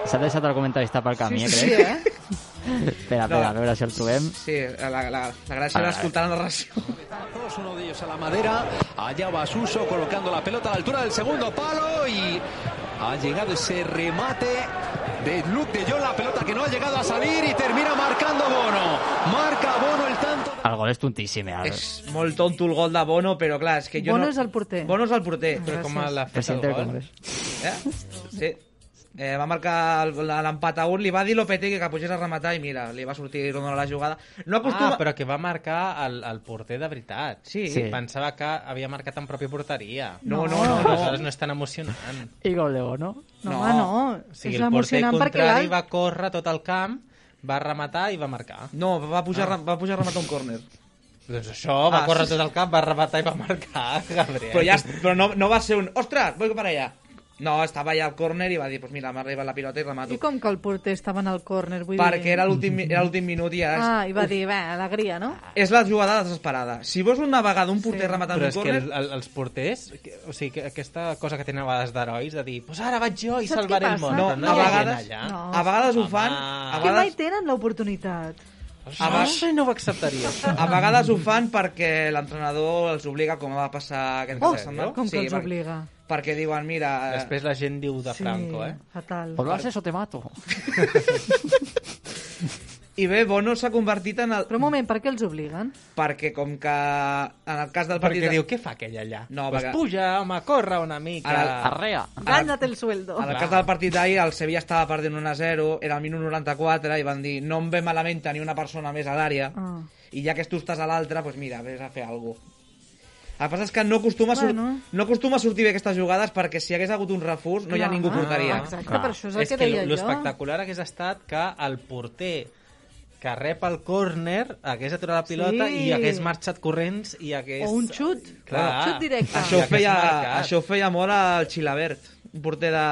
S'ha deixat el comentarista pel camí, eh, crec. eh? Espera, espera, a veure si el trobem. Sí, la, la, la gràcia Ah, era escoltar la narració. Todos uno de ellos a la madera. Allá va Suso colocando la pelota a la altura del segundo palo y ha llegado ese remate de Luke de Jong. La pelota que no ha llegado a salir y termina marcando Bono. Marca Bono el tanto. El gol és tontíssim, ah. eh? És molt tonto el gol de Bono, però clar, és que jo Bono no... és el porter. Bono és el porter. Però com l'ha El fet el presidente del gol? Congreso. Eh? Sí. Eh, va marcar el- la- l'empat a un, li va dir Lopetegui que pugés a rematar i mira, li va sortir rodona la jugada. No acostuma... Ah, però que va marcar el, el porter de veritat. Sí. Sí. Pensava que havia marcat en pròpia porteria. No, no, no. no. Aleshores no és tan emocionant. I gol de Bono. No, No. home, no. O sigui, és el porter emocionant perquè contrari l'alt- va córrer tot el camp, va rematar i va marcar. No, va pujar, ah. va pujar a rematar un córner. Doncs això, va Ah, córrer sí, sí. tot el camp, va rematar i va marcar, Gabriel. Però, ja, però no, no va ser un... Ostres, vull para allà. No, estava allà al córner i va dir, pues mira, m'ha arribat la pilota i remato. I com que el porter estava en el córner, vull dir... Perquè era l'últim mi- era l'últim minut i ara... Ah, és- i va dir, bé, alegria, no? És la jugada desesperada. Si vols una vegada un porter sí. rematant Però un és que córner... el, el, els porters, que, o sigui, que aquesta cosa que tenen a vegades d'herois, de dir, pues ara vaig jo i Saps salvaré què el món. passa? Però a hi ha gent vegades, allà. No. a vegades ho fan, Home. a Que mai vegades, tenen l'oportunitat. A A no va- sé, no ho acceptaria. això. a vegades ho fan perquè l'entrenador els obliga, com va passar aquest Oh, cap de setmana. Com que els perquè- obliga. Perquè diuen, mira... Després la gent diu de Franco, eh? fatal. O lo haces o te mato. I bé, Bono s'ha convertit en el... Però un moment, per què els obliguen? Perquè com que en el cas del partit... Perquè de- diu, què fa aquell allà? No, pues vaga- puja, home, corre una mica. Ara- Arrea. Gánate el sueldo. En el cas del partit d'ahir, el Sevilla estava perdent 1-0, era el minut 94, i van dir, no em ve malament tenir una persona més a l'àrea, Ah. i ja que tu estàs a l'altra, doncs mira, vés a fer alguna cosa. El que passa és que no acostuma, bueno. Bueno. no acostuma a sortir bé aquestes jugades perquè si hagués hagut un refús no hi ha Clar, Ah, ningú portaria. Exacte, Clar. per això és el és que que deia jo. l'espectacular hagués estat que el porter que rep el córner hagués aturat la pilota Sí. i hagués marxat corrents i hagués... O un xut. Clar. Un xut directe. Ah, Això, ja ho que feia, has marcat. això ho feia molt el Xilabert, un porter de,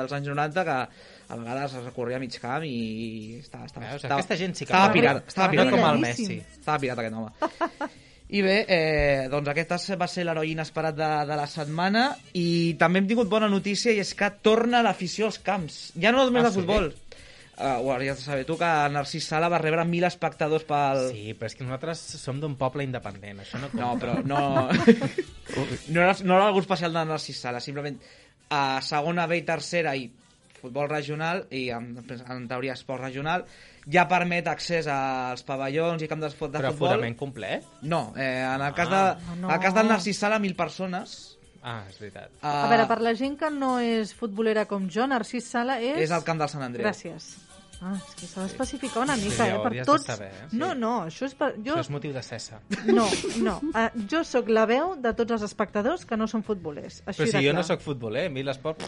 dels anys 90 que a vegades es recorria a mig camp i, i estava, estava, Veus, estava, aquesta gent sí que estava corre. pirata, estava No pirata, com el aquest home. Messi. Estava pirata aquest home. I bé, eh, doncs aquesta va ser l'heroi inesperat de, de la setmana i també hem tingut bona notícia i és que torna l'afició als camps. Ja no només Ah, de sí? futbol. Uh, ho hauries de saber tu, que Narcís Sala va rebre mil espectadors pel... Sí, però és que nosaltres som d'un poble independent, això no compta. No, però no... no, era, no era algú especial de Narcís Sala, simplement a segona B i tercera i futbol regional i en, en teoria esport regional ja permet accés als pavellons i camps de, fut- de però futbol. aforament complet? No, eh, en el cas, Ah. de, No. en el cas del Narcís Sala, mil persones. Ah, és veritat. Eh, A veure, per la gent que no és futbolera com jo, Narcís Sala és... És al camp del Sant Andreu. Gràcies. Ah, és que s'ha d'especificar una mica, Sí, eh? ho Per hauries de tots... saber, eh? No, no, això és per... Jo... Això és motiu de cessa. No, no. Uh, jo sóc la veu de tots els espectadors que no són futbolers. Així Però si de jo clar. no sóc futboler, a mi l'esport...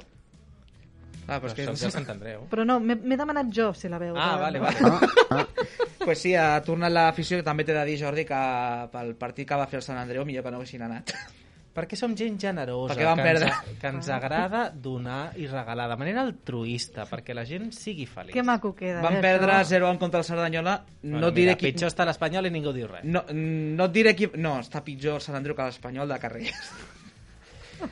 Ah, però Però és que... soc de Sant Andreu. Però no, m'he m'he demanat jo si la veu. Ah, de- vale, vale. pues sí, ha tornat l'afició, que també t'he de dir, Jordi, que pel partit que va fer el Sant Andreu, millor que no haguessin anat. Perquè som gent generosa, Perquè vam que, ens, perdre. que ens agrada donar i regalar de manera altruista, perquè la gent sigui feliç. Que maco queda. Van eh, perdre això? 0-1 contra el Cerdanyola. Bueno, no et diré mira, qui... Pitjor està l'Espanyol i ningú diu res. No, no et diré qui... No, està pitjor el Sant Andreu que l'Espanyol de carrer.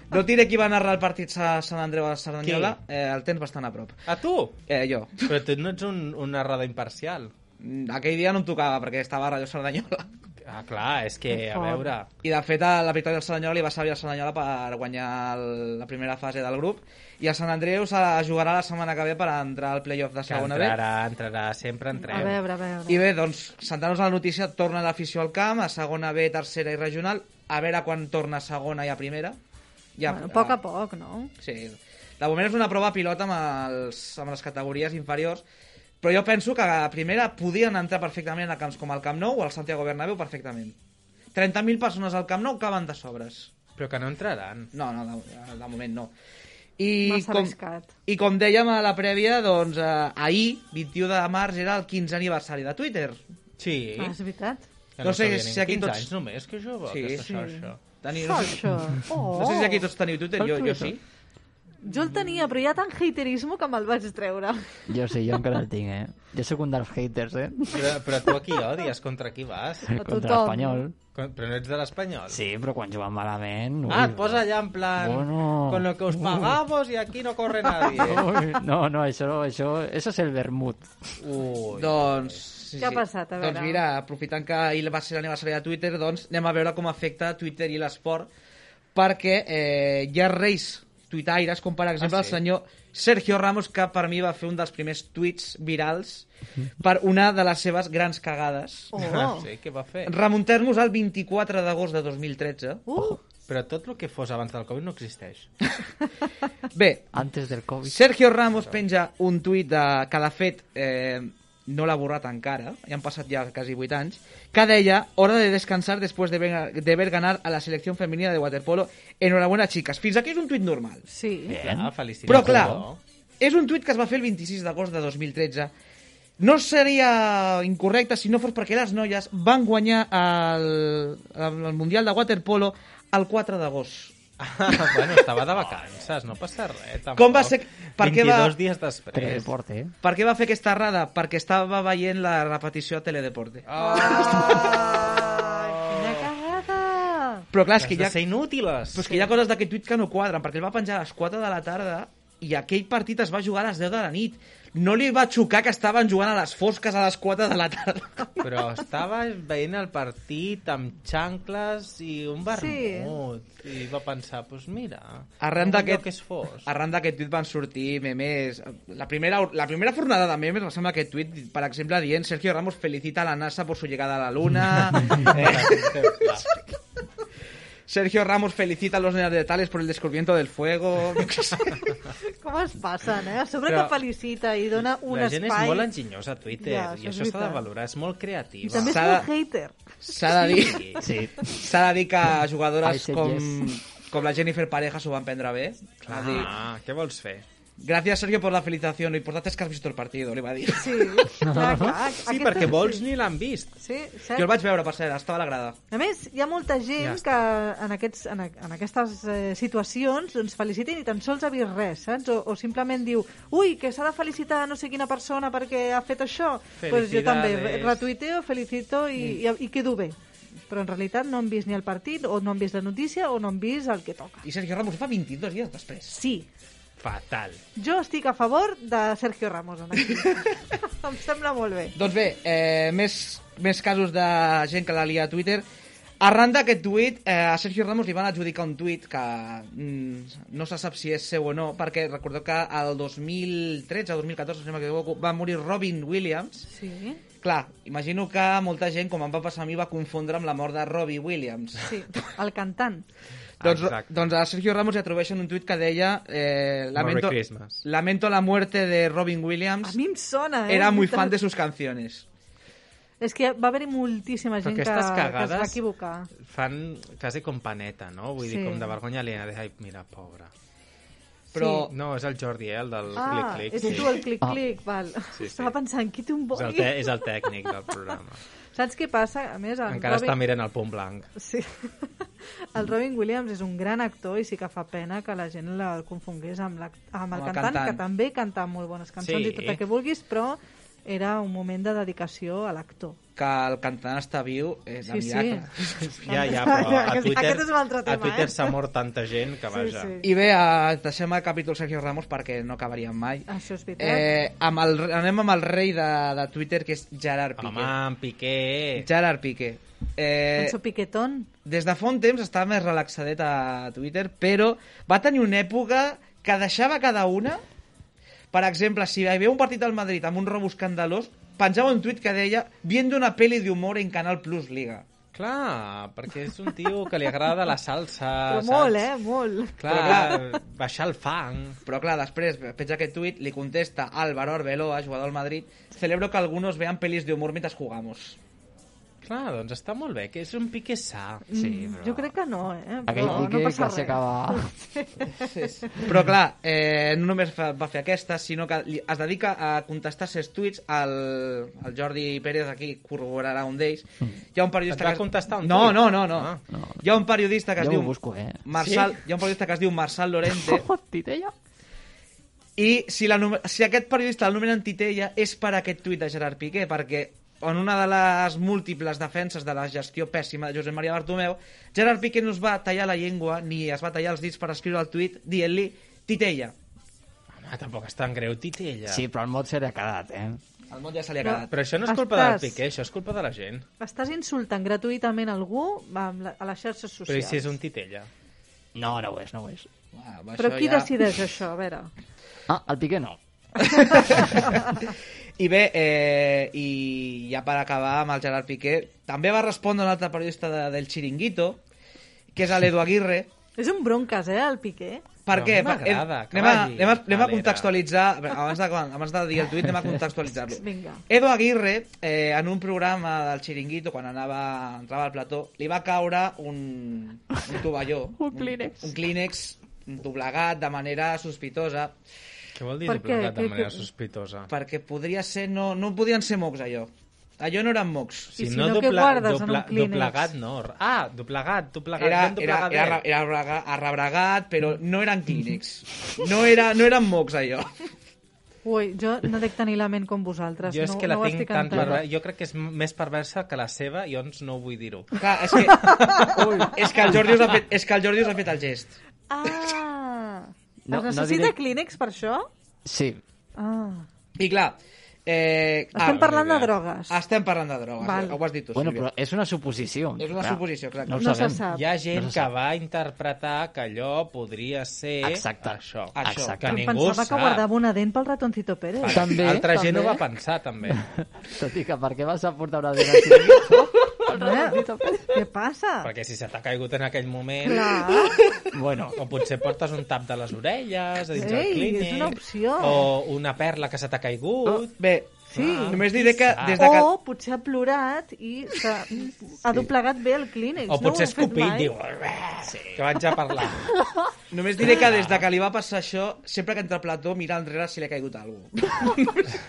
No et diré qui va narrar el partit a Sant Andreu a Cerdanyola. Eh, el tens bastant a prop. A tu! Eh, jo. Però tu no ets un, un narrador imparcial. Mm, Aquell dia no em tocava perquè estava a Ràdio Cerdanyola. Ah, clar, és que, a fort. veure... I de fet a la victòria del Cerdanyola li va servir al Cerdanyola per guanyar el, la primera fase del grup. I el Sant Andreu se la jugarà la setmana que ve per entrar al playoff de Que segona B. entrarà, entrarà, sempre entrem. A veure, a veure. I bé, doncs, centrant-nos en la notícia, torna l'afició al camp, a segona B, tercera i regional, a veure quan torna a segona i a primera. Ja, eh, bueno, a poc a poc, no? Sí. De moment és una prova pilota amb, els, amb les categories inferiors, però jo penso que a primera podien entrar perfectament a camps com el Camp Nou o al Santiago Bernabéu perfectament. 30.000 persones al Camp Nou caben de sobres. Però que no entraran. No, no, de, de moment no. I Massa com, arriscat. I com dèiem a la prèvia, doncs eh, ahir, 21 de març, era el 15 aniversari de Twitter. Sí. Ah, és veritat. Que No sé sabia si ningú. aquí 15 tots- anys només, que jove, Sí, sí, aquesta sí. sí. xarxa. Teni, Fa no, sé, això. Oh. no sé si aquí tots teniu Twitter, El jo, jo Twitter. sí. Jo el tenia, però hi ha tant haterisme que me'l vaig treure. Jo sí, jo encara el tinc, eh? Jo sóc un dels haters, eh? Però, però tu aquí odies, contra qui vas? A Contra tothom. l'Espanyol. Con- Però no ets de l'Espanyol? Sí, però quan juguen malament... Ah, ui, et posa allà en plan... Bueno. Con lo que os pagamos y aquí no corre nadie. Ui, no, no, això, això, eso es el vermut. Ui. Doncs... Sí, Què ha sí. passat? A Doncs veure. mira, aprofitant que ahir va ser l'aniversari de Twitter, doncs anem a veure com afecta Twitter i l'esport, perquè eh, hi ha reis tuitaires, com per sí? exemple el senyor Sergio Ramos, que per mi va fer un dels primers tuits virals per una de les seves grans cagades. Oh. Sí, què va fer? Remuntar-nos al 24 d'agost de 2013. Uh, Però tot el que fos abans del Covid no existeix. Bé, Antes del Covid. Sergio Ramos penja un tuit de, que de fet eh, no l'ha borrat encara, ja han passat ja quasi 8 anys, que deia, hora de descansar después de ver, de ver ganar a la selección femenina de waterpolo, enhorabuena chicas. Fins aquí és un tuit normal. sí. Bien. Clar, Ah, felicitats. Però clar, no? és un tuit que es va fer el 26 d'agost de 2013. No seria incorrecte si no fos perquè les noies van guanyar el, el Mundial de Waterpolo el 4 d'agost. Ah, bueno, estava de vacances, no passa res. Tampoc. Com va ser- per què va- 22 dies després. Teledeporte, eh? Per què va fer aquesta errada? Perquè estava veient la repetició a Teledeporte. Ai, quina cagada! Però clar, és Has que de ja... ser inútiles. Però és que hi ha coses d'aquest tuit que no quadren, perquè el va penjar a les 4 de la tarda i aquell partit es va jugar a les 10 de la nit. No li va xocar que estaven jugant a les fosques a les 4 de la tarda. Però estava veient el partit amb xancles i un vermut. I va pensar, doncs pues mira... Arran no d'aquest- allò Que es fos. Arran d'aquest tuit van sortir memes... La primera, la primera fornada de memes va ser amb aquest tuit, per exemple, dient Sergio Ramos felicita a la NASA por su llegada a la Luna... Sergio Ramos felicita a los neandertales por el descubrimiento del fuego... Jo què sé. Com es passen, eh? A sobre Però- que felicita i dona un la gent espai... és molt enginyosa a Twitter Ja, això i és això s'ha de veritat. valorar, és molt creativa. I també és S'ha molt de- hater. S'ha de dir... Sí. S'ha de dir que jugadores I said com, yes. Ah. com la Jennifer Pareja s'ho van prendre bé. És a dir, Ah, què vols fer? Gracias, Sergio, por la felicitación. Lo importante es que has visto el partido, li va dir. Sí, clar, clar. Sí, perquè vols ni l'han vist. Sí, cert. Jo el vaig veure, per cert, estava a la grada. A més, hi ha molta gent Ja ja que en, aquests, en, a- en aquestes eh, situacions doncs, felicita i ni tan sols ha vist res, saps? O, o simplement diu, ui, que s'ha de felicitar a no sé quina persona perquè ha fet això. Doncs pues jo també re- Felicidades. retuiteo, felicito i, mm. i, i quedo bé. Però en realitat no han vist ni el partit, o no han vist la notícia, o no han vist el que toca. I Sergio Ramos ho fa 22 dies després. Sí, Fatal. jo estic a favor de Sergio Ramos en aquí. em sembla molt bé. Doncs bé, eh, més, més casos de gent que la lia a Twitter. Arran d'aquest tuit, eh, a Sergio Ramos li van adjudicar un tuit que mm, no se sap si és seu o no, perquè recordeu que el 2013 o 2014, si no m'equivoco, va morir Robin Williams. Sí, Clar, imagino que molta gent, com em va passar a mi, va confondre amb la mort de Robbie Williams. sí, el cantant. Doncs, Ah, Exacte. doncs a Sergio Ramos li atribueixen un tuit que deia eh, lamento, Merry Christmas. lamento la muerte de Robin A Williams, mi em sona, eh? Doncs era muy Veritat. fan de sus canciones. És que va haver-hi moltíssima Però gent que, que aquestes es va cagades- equivocar. Fan quasi com paneta, no? Vull sí. Sí. dir, com de vergonya aliena. De, ai, mira, pobra. Però No, és el Jordi, eh, el del Oh. Ah, clic-clic. ets tu el clic-clic, val. Sí, sí. Estava pensant, qui té un És el, boi? te és el tècnic del programa. Saps què passa? A més, el Encara està Robin... mirant el punt blanc. Sí. El Robin Williams és un gran actor i sí que fa pena que la gent la- el confongués amb, la, amb el cantant, que també canta molt bones cançons Sí. i tot el que vulguis, però era un moment de dedicació a l'actor. que el cantant està viu és de Sí, sí. miracle. Ja, ja, però a Aquest- Twitter, aquest és un altre a tema, Twitter eh? s'ha mort tanta gent que, vaja... sí. I bé, eh, deixem el capítol Sergio Ramos perquè no acabaríem mai. Això és veritat. Eh, amb el, anem amb el rei de, de Twitter, que és Gerard Piqué. Home, en Piqué... Gerard Piqué. Eh, Enzo Piquetón, des de fa un temps estava més relaxadet a Twitter, però va tenir una època que deixava cada una. Per exemple, si hi havia un partit al Madrid amb un robo escandalós, penjava un tuit que deia «Viendo una peli de humor en Canal Plus Liga». Clar, perquè és un tio que li agrada la però salsa, ah, saps? molt, eh? Molt. Clar, baixar el fang... Però clar, després penja aquest tuit, li contesta Álvaro Arbeloa, jugador del Madrid, celebro que algunos vean pelis de humor mientras jugamos. Clar, doncs està molt bé, que és un Piqué sa. Sí, però... Mm, Jo crec que no, eh? Aquell Però no piqué passa que res. s'acaba... Però clar, eh, no només fa, va fer aquesta, sinó que li, es dedica a contestar ses tuits al, al Jordi Pérez, aquí corroborarà un d'ells. Hi ha un periodista Et va que... es- contestar un no, tuit? no, no, no, Ah. no. Hi ha un periodista que es Jo diu... ho busco, eh? Marçal, Hi ha un periodista que es diu Marçal Lorente Titella? I si, la, si aquest periodista el nomenen Titella és per aquest tuit de Gerard Piqué, perquè en una de les múltiples defenses de la gestió pèssima de Josep Maria Bartomeu, Gerard Piqué no es va tallar la llengua ni es va tallar els dits per escriure el tuit dient-li Titella. Home, tampoc és tan greu, Titella. Sí, però el mot se li ha quedat, eh? Al món ja se li ha Però- quedat. Però això no és culpa Estàs- del Piqué, això és culpa de la gent. Estàs insultant gratuïtament algú amb la, a les xarxes socials. Però i si és un Titella? No, no ho és, no ho és. Ah, Però això qui decideix això? A veure, Ah, el Piqué no. I bé, eh, i ja per acabar amb el Gerard Piqué, també va respondre un altre periodista de, del Chiringuito, que és l'Edu Aguirre, és un bronques, eh, el Piqué? Per Però què? a mi m'agrada, Eh, que anem, a, vagi, anem, a, anem a Valera. contextualitzar, abans de, abans de dir el tuit, anem a contextualitzar-lo. Vinga. Edo Aguirre, eh, en un programa del Chiringuito, quan anava, entrava al plató, li va caure un, un tovalló. un Kleenex. Un, un Kleenex doblegat de manera sospitosa, Què vol dir Per què? doblegat Què- de manera què- sospitosa? perquè podria ser... No, no podien ser mocs, allò. Allò no eren mocs. I si no, què guardes en un Kleenex? Doblegat no. Ah, doblegat, doblegat. Era, ben era, doblegadet. era, era arrebregat- arrebregat, però no eren Kleenex. No, era, no eren mocs, allò. Ui, jo no dec tenir la ment com vosaltres. Jo és no, que la no ho tinc estic tan entenent. perversa. Jo crec que és m- més perversa que la seva i doncs no vull dir-ho. Clar, és que, és que el Jordi us ha fet, és que el Jordi us ha fet el gest. Ah! No, es no necessita diré- clínex per això? Sí. Ah. I clar, eh, Estem ah, parlant de idea. drogues. estem parlant de drogues. Val. Ho has dit tu, Bueno, Sílvia. però és una suposició. És una Clar, suposició, exacte. No ho No se sabem. sap. Hi ha gent No se que sap. va interpretar que allò podria ser Exacte. això. Això. Que Exacte. Em ningú pensava sap. que guardava una dent pel ratoncito Pérez. Vale. També, Altra gent ho també. va pensar, també. Tot i que per què vas a portar una dent al Chiringuito? El ratoncito Pérez. Eh? Què passa? Perquè si se t'ha caigut en aquell moment... Clar. Bueno, O potser portes un tap de les orelles, a dins del Ei, clínic... és una opció. Oh, O una perla que se t'ha caigut... Bé, Ah, Sí. Oh. només diré que Ah. des de que... O potser ha plorat i s'ha ha doblegat bé el clínex. O potser no ho han fet escopit, mai. diu... "Uah", que vaig a parlar. Només diré que des de que li va passar això, sempre que entra al plató, mira enrere si li ha caigut alguna cosa.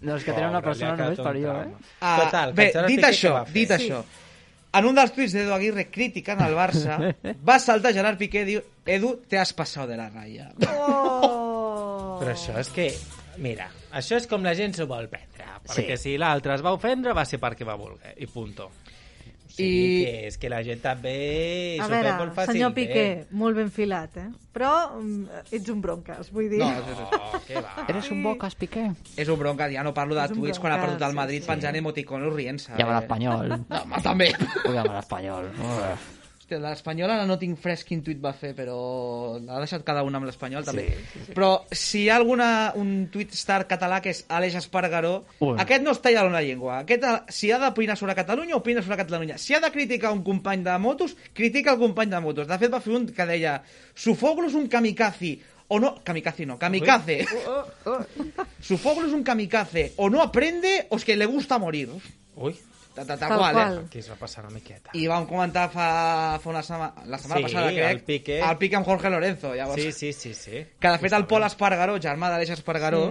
Doncs que tenen una persona només per jo, eh? Ah, Total, bé, Cancelara dit Piqué això, què va fer? dit això, en un dels tuits d'Edu Aguirre criticant el Barça, va saltar Gerard Piqué i diu Edu, te has passado de la raya. Oh! Però això és que... Mira, això és com la gent s'ho vol prendre. Perquè Sí. si l'altre es va ofendre, va ser perquè va voler. I punto. O sigui I- que és que la gent també A s'ho veure, pren molt fàcil. eh? senyor Piqué, molt ben filat, eh? Però mm, ets un bronques, vull dir. No, No, és, Oh, què va. Eres un bocas, Piqué. és un bronca, ja no parlo de És un tuits quan ha bronca, perdut el sí, Madrid sí. penjant emoticonos rient-se. Llama eh? l'espanyol. No, home, també. Ui, llama l'espanyol. Uf. Hòstia, l'Espanyol ara no tinc fresc quin tuit va fer, però l'ha deixat cada un amb l'Espanyol també. Sí, sí, sí. Però si hi ha alguna, un tuit star català que és Aleix Espargaró, Ui. aquest no es talla una llengua. Aquest, eh, si ha d'opinar sobre Catalunya, opina sobre Catalunya. Si ha de criticar un company de motos, critica el company de motos. De fet, va fer un que deia Sofoglu és un kamikaze, o no, kamikaze no, kamikaze. oh, Sofoglu és un kamikaze, o no aprende, o es que le gusta morir. Ui, Ta, ta, ta, Tal qual, qual. eh? aquí es va passar una miqueta. I vam comentar fa, fa una setmana, la Sí, setmana passada, crec, el Piqué. el Piqué amb Jorge Lorenzo, llavors. Sí, sí, sí, sí. Que, de fet, el Pol Espargaró, germà d'Aleix Espargaró,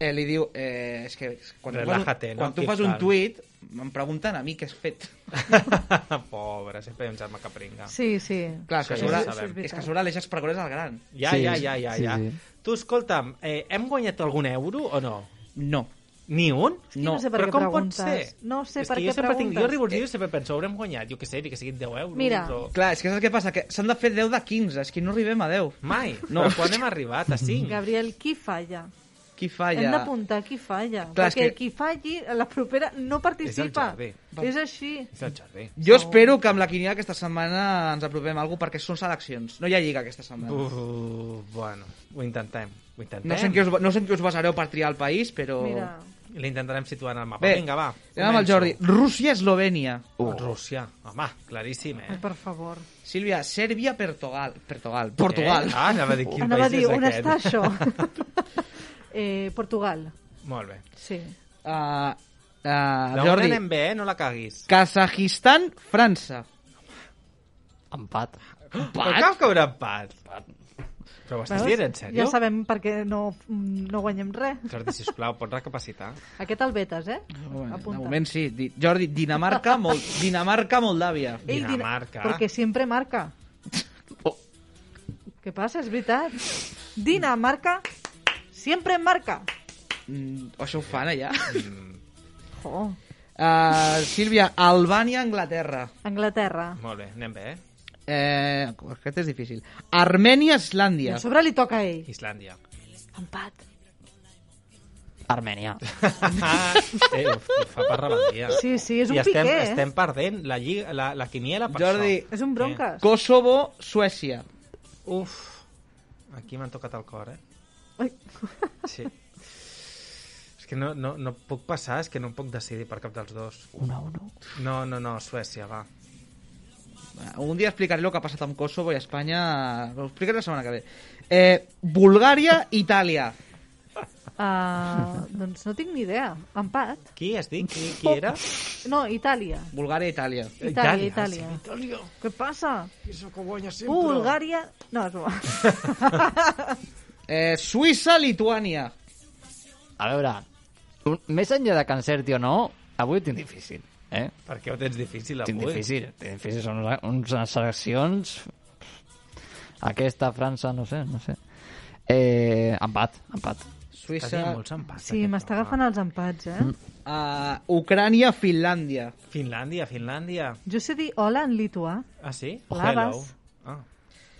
eh, li diu... Eh, és que quan tu Relájate, fas no? un, Quan tu Keep fas un calm. tuit, em pregunten a mi què has fet. Pobre, sempre hi ha un germà que pringa. Sí, sí. Clar, és que Sí, a sobre, sí, sí, és veritat. és que a sobre Aleix Espargaró és el gran. Ja, Sí, ja, ja, ja, sí, ja. sí. Tu, escolta'm, eh, hem guanyat algun euro o no? No. Ni un? que no sé per però què com preguntes. pot ser? No sé és per què que jo sempre Tinc, jo preguntes. Eh, riure, jo sempre penso, haurem guanyat, jo què sé, ni que siguin 10 euros. Mira. O... Clar, és que saps què passa? Que s'han de fer 10 de 15, és que no arribem a 10. Mai. No. No. Però quan hem arribat? A 5? Gabriel, qui falla? Qui Falla. Hem falla? d'apuntar qui falla. Clar, és perquè que- qui falli, a la propera no participa. Jordi. És així. És el Jordi. Jo espero que amb la quiniela aquesta setmana ens apropem a alguna cosa, perquè són seleccions. No hi ha lliga aquesta setmana. Uh, bueno, ho intentem. Ho intentem. No sé, en què us, no sé en què us basareu per triar el país, Oh. però... Mira, L'intentarem situar en el mapa. Bé, Vinga, va. Anem amb el Jordi. Rússia-Eslovènia. Uh. Rússia. Home, claríssim, ai, eh? per favor. Sílvia, Sèrbia-Portugal. Portugal. Portugal. Eh? Ah, anava a dir quin Anava a país dir, és on aquest. està això? eh, Portugal, Molt bé. sí. Ah, De ah, moment Jordi. anem bé, eh? No la caguis. Kazajistan, França. Empat. Però cal caure empat. Però ho estàs dient, en sèrio? Ja sabem per què no, no guanyem res. Jordi, sisplau, pots recapacitar? Aquest el vetes, eh? Bueno, de Apunta. moment sí. Di- Jordi, Dinamarca, Mol Dinamarca Moldàvia. Ell dirà- Dinamarca. Perquè sempre marca. Oh. Què passa? És veritat. Dinamarca sempre marca. Mm, això ho fan allà. Mm. Oh. Uh, Sílvia, Albània, Anglaterra. Anglaterra. Molt bé, anem bé, eh? Eh, aquest és difícil. Armènia, I Islàndia. a sobre li toca a ell. Islàndia. Empat. Armènia. eh, ho, ho fa per rebel·lia. Sí, sí, és un I estem, piqué, eh? estem perdent la, lliga, la, la quiniela per Jordi, És un Eh. bronques. Kosovo, Suècia. això. Uf, aquí m'han tocat el cor, eh? Ai. Sí. És que no, no, no puc passar, és que no em puc decidir per cap dels dos. Una, una. No, no, no, Suècia, va. Un dia explicaré el que ha passat amb Kosovo i Espanya. Ho explicaré la setmana que ve. Eh, Bulgària, Itàlia. Uh, doncs no tinc ni idea. Empat. Qui has dit? Qui, qui era? No, Itàlia. Bulgària, Itàlia. Itàlia, Itàlia. Itàlia. sí, Itàlia. Què passa? Això que guanya sempre. Bulgària... No, és bo. Eh, Suïssa, Lituània. A veure, un, més enllà de que encerti o no, avui ho tinc difícil. Eh? Per què ho tens difícil avui? Tinc difícil. Tinc difícil. Són unes, unes seleccions... Aquesta, França, no sé, no sé. Eh, empat, empat. Suïssa, Està molts empats. Sí, aquest m'està home. agafant els empats, Mm. eh? eh, Ucrània, Finlàndia. Finlàndia, Finlàndia. Jo sé dir hola en lituà Ah, sí? Laves. Hello.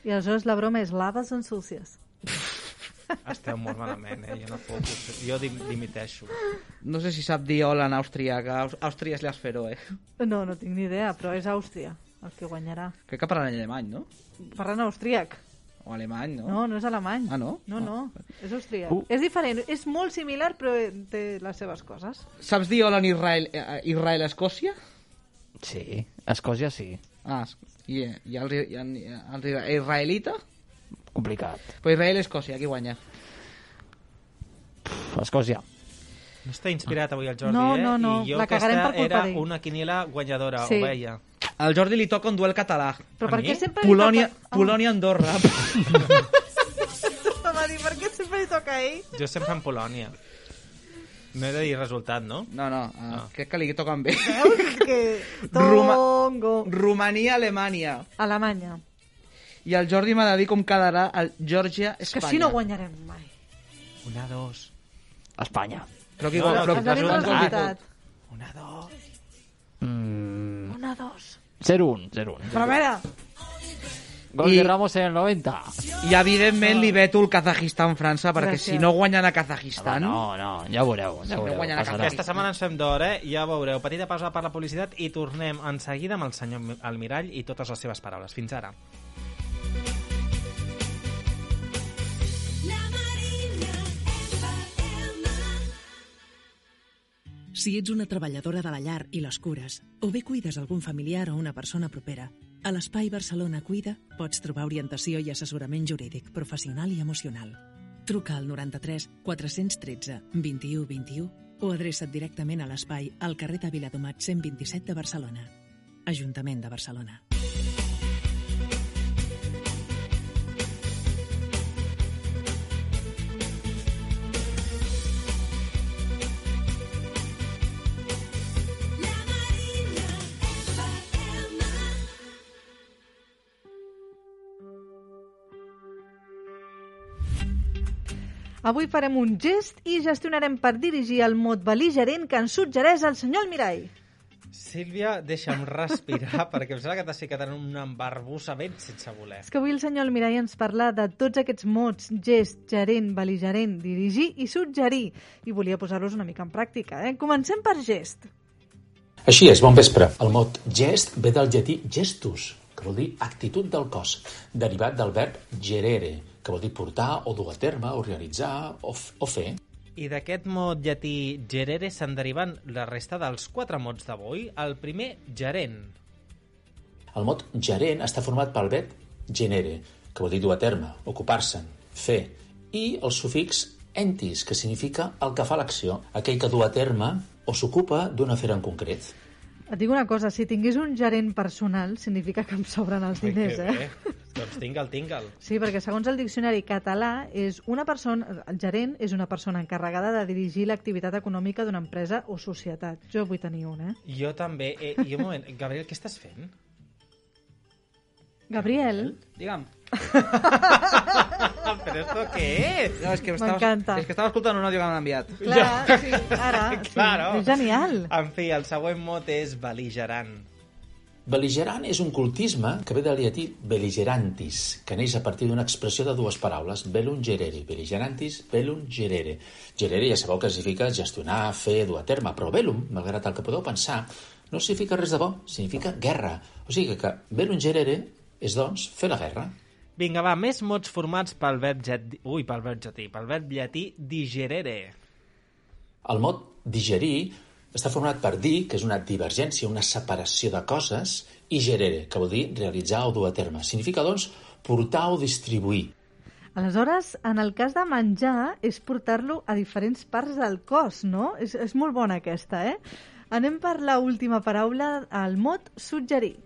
i aleshores la broma és laves són súcies. Ah, esteu molt malament, eh? Jo no puc. Jo dim dimiteixo. No sé si sap dir hola en austríac. Aus- Àustria és l'esferó, eh? No, no tinc ni idea, però és Àustria el que guanyarà. Crec que parlen alemany, no? Parlen austríac. O alemany, no? No, no és alemany. Ah, no? No, no, és austríac. És diferent, és molt similar, però té les seves coses. Saps dir hola en Israel, eh, Israel Escòcia? Sí. Escòcia, sí. Ah, es- i, i, el, i el, el israelita? Complicat. Pues Israel Escòcia, qui guanya? Pff, Escòcia. No està inspirat avui el Jordi, No, eh? no, no, I jo la cagarem aquesta per culpa era d'ell. una quiniela guanyadora, Sí. ho veia. Al Jordi li toca un duel català. Però A per mi? què sempre li Polònia, toca... Polònia-Andorra. Polònia... Va dir, per què sempre li toca a ell? Jo sempre en Polònia. No he de dir resultat, no? No, no, ah, crec que li toquen bé. Veus que... Roma- Tongo. Romania-Alemanya. Alemanya. I el Jordi m'ha de dir com quedarà el És que Georgia-Espanya. així no guanyarem mai. Una, dos. Espanya. Però qui No, no, però, has Has de dir però, resultat. el resultat. Una, dos. Mm, Una, dos. 0-1, 0-1. Però a veure, Gol I- de Ramos en el 90. I evidentment li veto el Kazajistan-França, perquè Gràcies. si no guanyen a Home, Kazajistan... no, no, ja ho veureu. Ja no ho veureu guanyen la passarà. Campions. Aquesta setmana ens fem d'hora, eh? Ja veureu. Petita pausa per la publicitat i tornem en seguida amb el senyor Almirall i totes les seves paraules. Fins ara. Si ets una treballadora de la llar i les cures, o bé cuides algun familiar o una persona propera, a l'Espai Barcelona Cuida pots trobar orientació i assessorament jurídic, professional i emocional. Truca al 93 413 21 21 o adreça't directament a l'espai al carrer de Viladomat 127 de Barcelona. Ajuntament de Barcelona. Avui farem un gest i gestionarem per dirigir el mot beligerent que ens suggereix el senyor Almirall. Sílvia, deixa'm respirar, perquè em sembla que t'has ficat en una embarbussa ben sense voler. És que avui el senyor Almirall ens parla de tots aquests mots, gest, gerent, beligerent, dirigir i suggerir. I volia posar-los una mica en pràctica. Eh? Comencem per gest. Així és, bon vespre. El mot gest ve del llatí gestus, que vol dir actitud del cos, derivat del verb gerere, que vol dir portar o dur a terme, o realitzar o, f- o fer. I d'aquest mot llatí gerere se'n deriven la resta dels quatre mots d'avui. El primer, gerent. El mot gerent està format pel verb genere, que vol dir dur a terme, ocupar-se'n, fer, i el sufix entis, que significa el que fa l'acció, aquell que du a terme o s'ocupa d'un afer en concret. Et dic una cosa, si tingués un gerent personal, significa que em sobren els Ai, diners, que eh? bé. Doncs tingue'l, tingue'l. Sí, perquè segons el diccionari català, és una persona, el gerent és una persona encarregada de dirigir l'activitat econòmica d'una empresa o societat. Jo vull tenir un, eh? Jo també. Eh, I un moment, Gabriel, què estàs fent? Gabriel, Digue'm. Però esto què és? No, és que M'encanta. estava, és que estava escoltant un àudio que m'han enviat. clar, sí, ara, Claro. sí, és genial. En fi, el següent mot és beligerant. Beligerant és un cultisme que ve del llatí beligerantis, que neix a partir d'una expressió de dues paraules, velum gerere, beligerantis, velum gerere. Gerere ja sabeu que significa gestionar, fer, dur a terme, però velum, malgrat el que podeu pensar, no significa res de bo, significa guerra. O sigui que velum gerere és, doncs, fer la guerra. Vinga, va, més mots formats pel verb llatí... Ui, pel verb llatí. Pel verb llatí digerere. El mot digerir està format per dir, que és una divergència, una separació de coses, i gerere, que vol dir realitzar o dur a terme. Significa, doncs, portar o distribuir. Aleshores, en el cas de menjar, és portar-lo a diferents parts del cos, no? És, és molt bona aquesta, eh? Anem per la última paraula, el mot suggerir.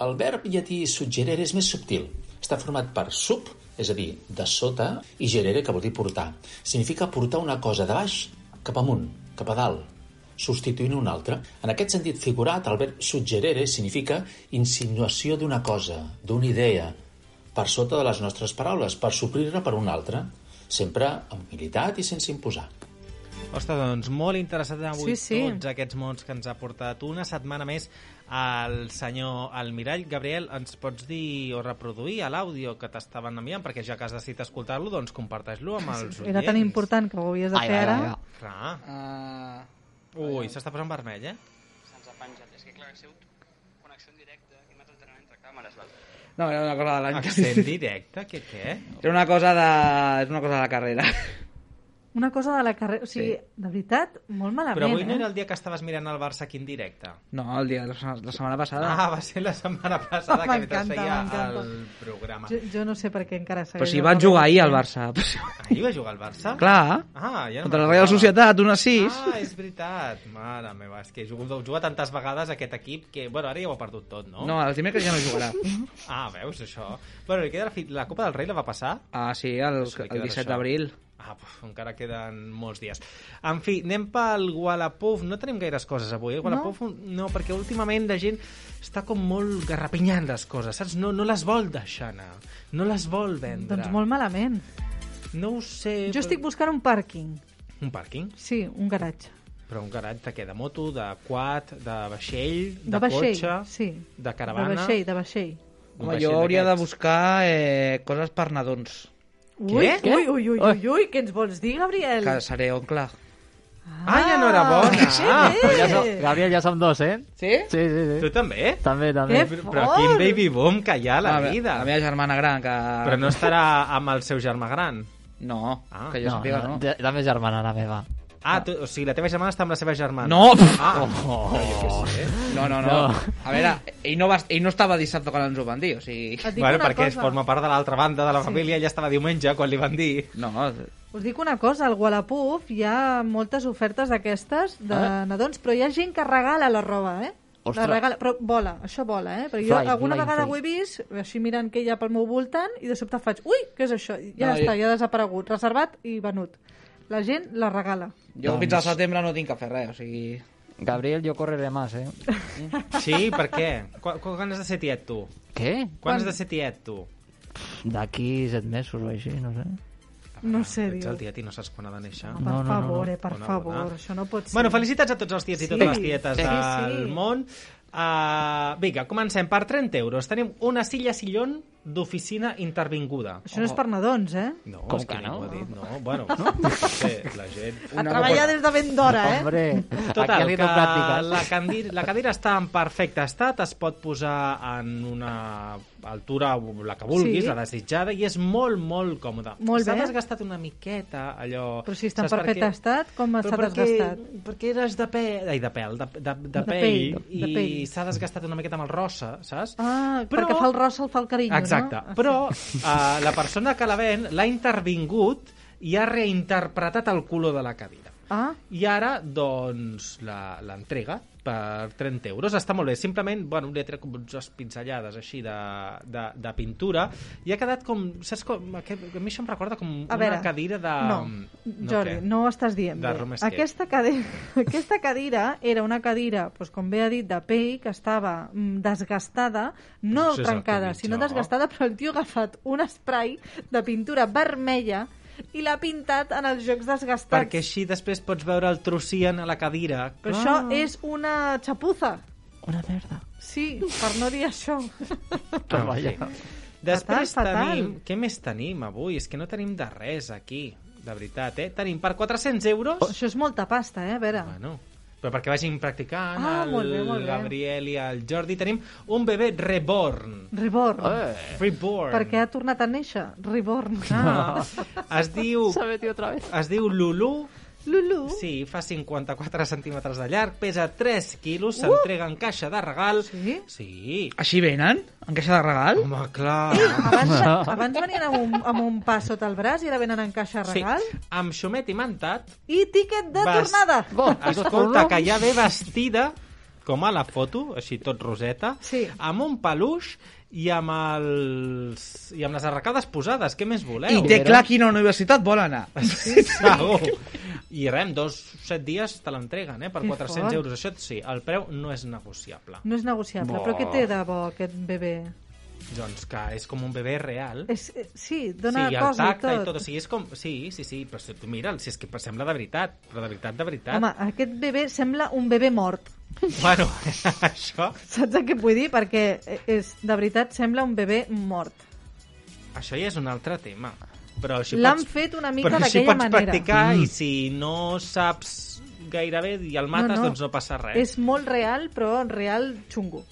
El verb llatí suggerere és més subtil. Està format per sub, és a dir, de sota, i gerere, que vol dir portar. Significa portar una cosa de baix cap amunt, cap a dalt, substituint una altra. En aquest sentit figurat, el verb suggerere significa insinuació d'una cosa, d'una idea, per sota de les nostres paraules, per suplir-la per una altra, sempre amb humilitat i sense imposar. Ostres, doncs molt interessat avui Sí, sí. tots aquests mots que ens ha portat una setmana més el senyor Almirall. Gabriel, ens pots dir o reproduir a l'àudio que t'estaven enviant? Perquè ja que has decidit escoltar-lo, doncs comparteix-lo amb els Era tan important que ho havies de Ai, fer ai, ara. ai, ai. Clar. Uh, Ui, s'està posant vermell, eh? no, era una cosa Ah, de l'any. Accent directe, què, què? Era una cosa de... És una cosa de la carrera. Una cosa de la carrera... O sigui, de veritat, molt malament, Però avui no eh? era el dia que estaves mirant el Barça aquí en directe. No, el dia de la, se- la setmana passada. Ah, va ser la setmana passada que mentre Oh, M'encanta, feia m'encanta. el programa. Jo, jo no sé per què encara segueix... però si el va Barça. jugar ahir al Barça. Però si- Ahir va jugar al Barça? Clar, Ah, ja no contra la me'n Real recordava. Societat, un 6. Ah, és veritat. Mare meva, és que juga, juga tantes vegades aquest equip que, bueno, ara ja ho ha perdut tot, no? No, el dimecres ja no jugarà. Ah, veus, això. Bueno, li queda la, fi... la Copa del Rei la va passar? Ah, sí, el, Doncs li el queda 17 això. d'abril. Ah, puf, encara queden molts dies. En fi, anem pel Wallapop. No tenim gaires coses avui, eh? Wallapop, no, no perquè últimament la gent està com molt garrapinyant les coses, saps? No, no les vol deixar anar, no les vol vendre. Doncs molt malament. No ho sé... Jo estic buscant un pàrquing. Un pàrquing? Sí, un garatge. Però un garatge de què? De moto, de quad, de vaixell, de, De vaixell, cotxe, sí. de caravana... De vaixell, de vaixell. Un Home, vaixell jo hauria de d'aquests. buscar eh, coses per nadons, Ui, Què? ui, ui, ui, ui, ui, què ens vols dir, Gabriel? que seré oncle. Ah, ja no era bona! Ah, Ah, Però ja som, Gabriel, ja som dos, eh? Sí? Sí, sí, sí. tu també? També, també. Eh, Però, però quin baby boom que hi ha a la me- vida! La meva germana gran, que... Però no estarà amb el seu germà gran. No, Ah. que jo no, sàpiga, no, no. de- La meva germana, la meva. Ah, tu, o sigui, la teva germana està amb la seva germana. No, pff, Ah, però jo què sé. no, no, no. No. A veure, ell no, va, ell no estava dissabte quan ens ho van dir, o sigui... Et dic Bueno, una perquè cosa. forma part de l'altra banda de la família, ella estava diumenge quan li van dir. No, Us dic una cosa, al Wallapop hi ha moltes ofertes d'aquestes de ah. nadons, però hi ha gent que regala la roba, eh? Ostres. La regala, però vola, això vola, eh? Però jo Fly, alguna flying vegada free. ho he vist, així mirant què hi ha pel meu voltant, i de sobte faig, ui, què és això? I Ja No, està, jo- ja ha desaparegut, reservat i venut. La gent la regala. jo doncs... fins al setembre no tinc que fer res, o sigui... Gabriel, jo correré més, eh? Sí, per què? Quan, quan has de ser tiet, tu? Què? Quan, has de ser tiet, tu? D'aquí set mesos o així, no sé. No sé, Ah, Ets diu. el tiet i no saps quan ha de néixer. Per No, no, no, favor, no. eh, per Bona, favor, bona. això no pot ser. Bueno, felicitats a tots els tiets i totes Sí. les tietes Sí, sí. del món. Uh, vinga, comencem. Per 30 euros tenim una silla sillon d'oficina intervinguda. Això no és per nadons, eh? No, Com és que, que ningú no? ha dit. No, bueno, no sé, la gent... A treballar des de ben d'hora, eh? Hombre, Total, aquí que no pràctiques. la, cadira, la cadira està en perfecte estat, es pot posar en una altura la que vulguis, Sí. sí. la desitjada, i és molt, molt còmoda. Molt S'ha bé. desgastat una miqueta, allò... Però si està en saps per perfecte què? estat, com Però s'ha perquè- desgastat? Perquè eres de pèl, ai, de pèl, de, de, de, De pell, pell, de pell. i s'ha desgastat una miqueta amb el rosa, saps? Ah, però... perquè fa el rosa, el fa el carinyo, Exacte. no? Ah, Però eh, la persona que la ven l'ha intervingut i ha reinterpretat el color de la cadira. Ah, I ara, doncs, la- l'entrega per 30 euros. Està molt bé. Simplement, bueno, li ha tret com unes pinzellades així de, de, de pintura i ha quedat com... Saps com? A que- a mi això em recorda com A una veure, cadira de... No, Jordi, què? no ho estàs dient De bé. room escape. Aquesta cadira, aquesta cadira era una cadira, doncs, com bé ha dit, de pell, que estava mm, desgastada, no Això és el que trencada, dic sinó jo. desgastada, però el tio ha agafat un spray de pintura vermella i l'ha pintat en els jocs desgastats. Perquè així després pots veure el trocien a la cadira. Però això és una xapuza. Ah. Una merda. Sí, per no dir això. Ah, Vaja. Fatal, Després fatal. tenim... Què més tenim avui? És que no tenim de res aquí, de veritat, eh? Tenim per 400 euros... Això és molta pasta, eh? A veure. Bueno, però perquè vagin practicant Ah, el molt bé, molt bé. Gabriel i el Jordi, tenim un bebè reborn. Reborn. Reborn. Perquè ha tornat a néixer. Reborn. Ah, es diu... Se ha metido otra vez. Es diu Lulu, Lulu. sí, fa 54 centímetres de llarg, pesa 3 quilos, s'entrega en caixa de regal. Uh! Sí? Sí. Així venen? En caixa de regal? Home, clar. Eh? Abans, abans venien amb un, amb un pa sota el braç i ara venen en caixa regal. Sí. amb xumet i mantat, I tíquet de Bast- tornada. Bo, Escolta, que ja ve vestida com a la foto, així tot roseta, Sí. amb un peluix i amb, els, i amb les arracades posades. Què més voleu? I té clar quina universitat vol anar. Segur. I res, en dos, set dies te l'entreguen, eh? Per Que 400 fort. euros. Això sí, el preu no és negociable. No és negociable, Bo. però què té de bo aquest bebè? Doncs que és com un bebè real. És, eh, sí, dona sí, i el cosa tacte i tot. O sigui, és com... Sí, sí, sí, però si tu mira'l, si és que sembla de veritat, però de veritat, de veritat. Home, aquest bebè sembla un bebè mort. Bueno, això... Saps el que vull dir? Perquè eh, és, de veritat sembla un bebè mort. Això ja és un altre tema. Però així L'han pots... fet una però mica així d'aquella pots manera. practicar i si no saps gairebé i el mates, No, no. doncs no passa res. És molt real, però real xungo.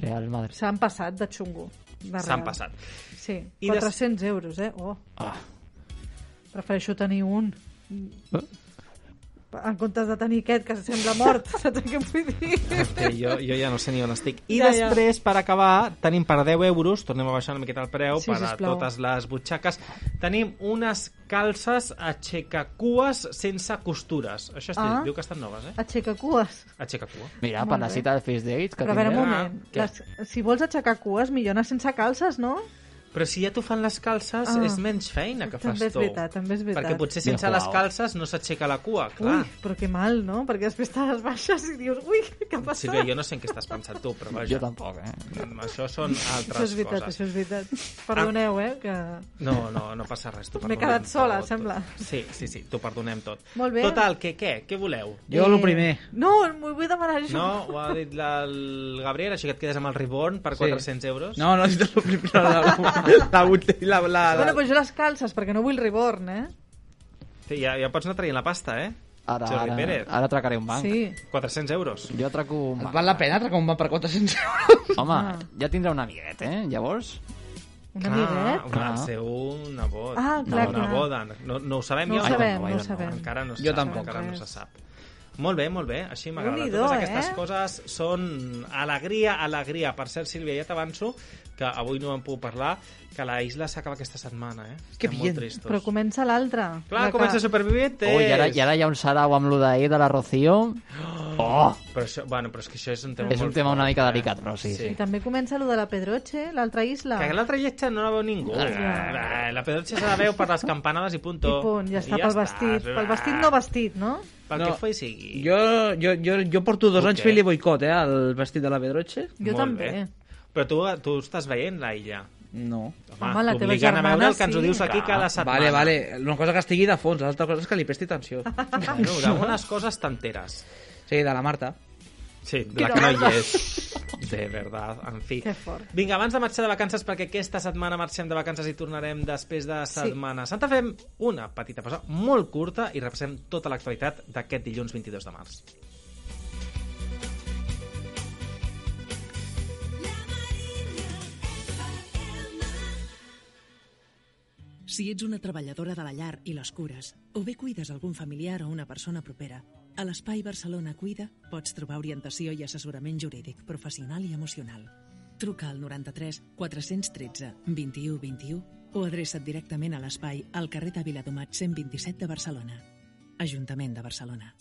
Real Madrid. S'han passat de xungo. de real. S'han passat. Sí, I des- 400 euros, eh? Oh. Ah. Prefereixo tenir un. en comptes de tenir aquest que sembla mort, saps què em vull dir? Que jo, jo ja no sé ni on estic. I Ja, ja, ja. després, per acabar, tenim per 10 euros, tornem a baixar una miqueta el preu Sí, per sisplau. a totes les butxaques, tenim unes calces aixecacues sense costures. Això estic, Ah. diu que estan noves, eh? Aixeca cues. Aixecacua. Mira, Molt per la bé. cita del Fist Dates que Però a veure, un tindrem. moment. Ah, què? Les, si vols aixecar cues, millor anar sense calces, no? Però si ja t'ho fan les calces, Ah. és menys feina que fas També és tu. veritat, també és veritat. Perquè potser sense Bien les jugado. calces no s'aixeca la cua, clar. Ui, però que mal, no? Perquè després te les baixes i dius, ui, què ha passat? Sílvia, jo no sé en què estàs pensant tu, però vaja. Jo tampoc, eh? Mm, Això són altres Això és veritat, coses. Ah. això és veritat. Perdoneu, eh, que... No, no, no passa res. t'ho M'he perdonem quedat sola, tot. sembla. Sí, sí, sí, t'ho perdonem tot. Molt bé. Total, que què? Què voleu? Jo el primer. No, m'ho vull demanar això. No, ho ha dit la, el Gabriel, així que et quedes amb el Reborn per Sí. 400 euros. No, no, és el primer. La, la, la, la, la, Bueno, la, però jo les calces, perquè no vull Reborn, eh? Sí, ja, ja pots anar traient la pasta, eh? Ara, Jordi ara, Pérez. ara atracaré un banc. Sí. 400 euros. Jo atraco un banc. Val la pena atracar un banc per 400 euros? Home, Ah. ja tindrà un amiguet, eh? Llavors, Un amiguet? Clar, Ah. Clar. el Ah, seu nebot. Ah, clar, no, clar. Neboda. No, no ho sabem No ho ja? sabem, no, no ho no, sabem. Encara no se Jo sap, tampoc. encara no Res. se sap. Molt bé, molt bé, així m'agrada. Déu-n'hi-do, Totes aquestes eh? coses són alegria, alegria. Per cert, Sílvia, ja t'avanço que avui no en puc parlar, que la isla s'acaba aquesta setmana, eh? Que Estem bien. molt tristos. Però comença l'altre. Clar, La que- comença Supervivientes. ui, i ara, i ara hi ha un sarau amb lo d'ahir de la Rocío. Oh! Però, això, bueno, però és que això és un tema És un molt tema fort, una mica eh? delicat, però sí. Sí. sí. I també comença lo de la Pedroche, l'altra isla. Que l'altra lletja no la veu ningú. Ah, La Pedroche se la veu per les campanades i punto. I punt, ja està pel vestit. està. Pel vestit no vestit, no? Pel No. que fos i sigui. Jo, jo, jo, jo porto dos Tu anys què? fent-li boicot, eh, al vestit de la Pedroche. Jo Molt també. bé. Però tu, tu estàs veient la illa. No. Ah, Home, la teva t'obliguen a veure el que germana, ens ho dius sí. aquí cada setmana. Vale, vale. Una cosa que estigui de fons, l'altra cosa és que li presti atenció. Bueno, d'algunes coses t'enteres. Sí, de la Marta. Sí, de la que no hi és. De verdad, en fi. Que fort. Vinga, abans de marxar de vacances, perquè aquesta setmana marxem de vacances i tornarem després de Setmana Santa, fem una petita pausa molt curta i repassem tota l'actualitat d'aquest dilluns 22 de març. Si ets una treballadora de la llar i les cures, o bé cuides algun familiar o una persona propera, a l'Espai Barcelona Cuida pots trobar orientació i assessorament jurídic, professional i emocional. Truca al 93 413 21 21 o adreça't directament a l'espai al carrer de Viladomat 127 de Barcelona. Ajuntament de Barcelona.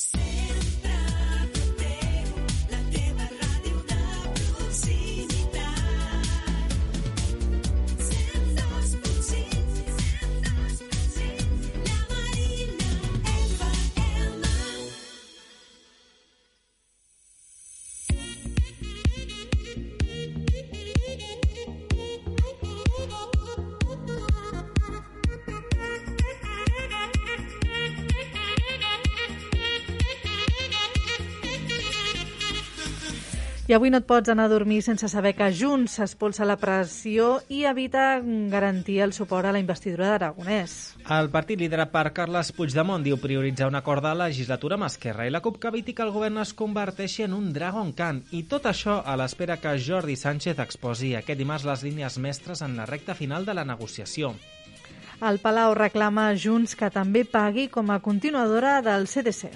I avui no et pots anar a dormir sense saber que Junts s'espolsa la pressió i evita garantir el suport a la investidura d'Aragonès. El partit liderat per Carles Puigdemont diu prioritzar un acord de legislatura amb Esquerra i la CUP que eviti que el govern es converteixi en un Dragon Khan. I tot això a l'espera que Jordi Sánchez exposi aquest dimarts les línies mestres en la recta final de la negociació. El Palau reclama a Junts que també pagui com a continuadora del CDC.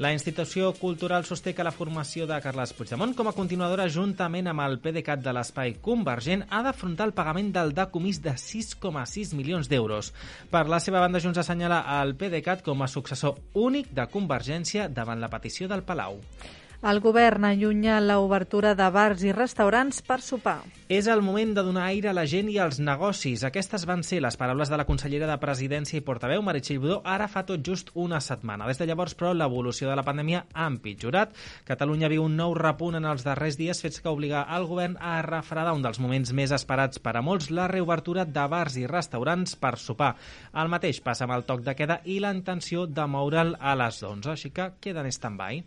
La institució cultural sosté que la formació de Carles Puigdemont com a continuadora juntament amb el PDeCAT de l'Espai Convergent ha d'afrontar el pagament del decomís de 6,6 milions d'euros. Per la seva banda, Junts assenyala el PDeCAT com a successor únic de Convergència davant la petició del Palau. El govern allunya l'obertura de bars i restaurants per sopar. És el moment de donar aire a la gent i als negocis. Aquestes van ser les paraules de la consellera de Presidència i portaveu, Meritxell Budó, ara fa tot just una setmana. Des de llavors, però, l'evolució de la pandèmia ha empitjorat. Catalunya viu un nou repunt en els darrers dies, fets que obliga el govern a refredar un dels moments més esperats per a molts, la reobertura de bars i restaurants per sopar. El mateix passa amb el toc de queda i la intenció de moure'l a les 11, així que queda en stand-by.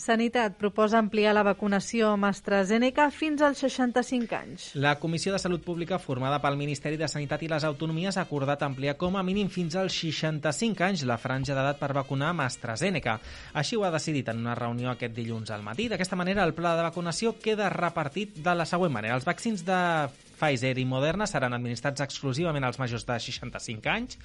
Sanitat proposa ampliar la vacunació amb AstraZeneca fins als 65 anys. La Comissió de Salut Pública, formada pel Ministeri de Sanitat i les Autonomies, ha acordat ampliar com a mínim fins als 65 anys la franja d'edat per vacunar amb AstraZeneca. Així ho ha decidit en una reunió aquest dilluns al matí. D'aquesta manera, el pla de vacunació queda repartit de la següent manera. Els vaccins de Pfizer i Moderna seran administrats exclusivament als majors de 65 anys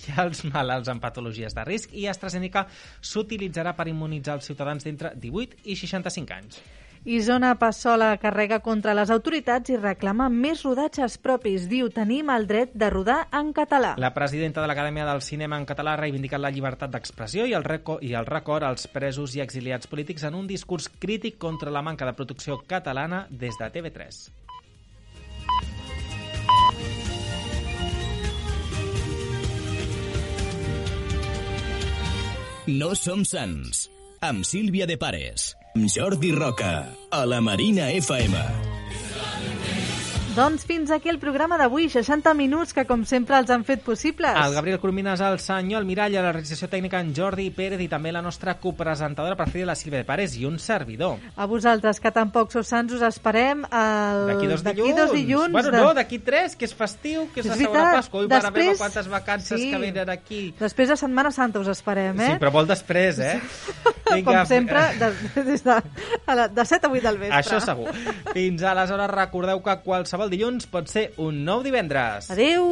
i els malalts amb patologies de risc i AstraZeneca s'utilitzarà per immunitzar els ciutadans d'entre 18 i 65 anys. Isona Passola carrega contra les autoritats i reclama més rodatges propis. Diu, tenim el dret de rodar en català. La presidenta de l'Acadèmia del Cinema en català ha reivindicat la llibertat d'expressió i, el reco- i el record als presos i exiliats polítics en un discurs crític contra la manca de producció catalana des de TV3. No som sants. Amb Sílvia de Pares, amb Jordi Roca, a la Marina FM. Doncs fins aquí el programa d'avui, 60 minuts que com sempre els han fet possibles. El Gabriel Coromines, el senyor Almirall, a la realització tècnica en Jordi Pérez i també la nostra copresentadora per fi de la Sílvia de Pares i un servidor. A vosaltres, que tampoc sou sants, us esperem el... D'aquí dos dilluns. Eh, D'aquí dos dilluns. Bueno, no, d'aquí tres, que és festiu, que És és, la segona veritat, Pasqua. Ui, Després... mare meva, després- quantes vacances sí. que venen aquí. Després de Setmana Santa us esperem, eh? Sí, però molt després, eh? Com sempre, de, des de, a la, de 7 a 8 del vespre. Això segur. Fins aleshores recordeu que qualsevol dilluns pot ser un nou divendres. Adéu!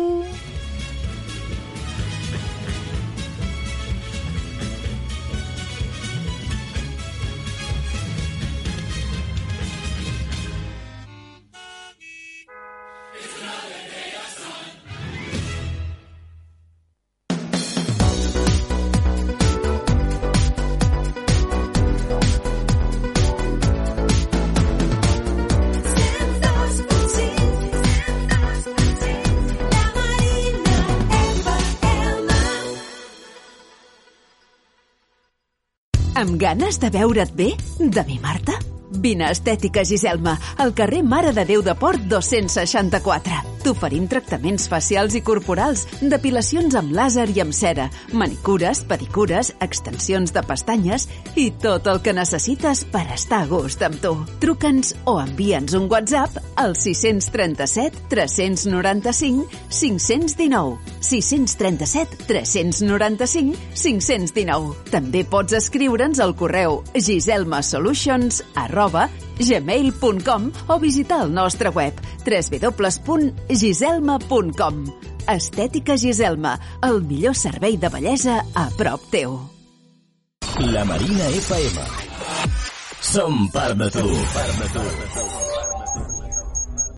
Amb ganes de veure't bé? De mi, Marta? Vine a Estètica Giselma, al carrer Mare de Déu de Port 264. T'oferim tractaments facials i corporals, depilacions amb làser i amb cera, manicures, pedicures, extensions de pestanyes i tot el que necessites per estar a gust amb tu. Truca'ns o envia'ns un WhatsApp al 637 395 519. 637 395 519. També pots escriure'ns al correu giselmasolutions arroba gmail.com o visitar el nostre web www.giselma.com. Estètica Giselma, el millor servei de bellesa a prop teu. La Marina FM. Som part de tu. Part de tu.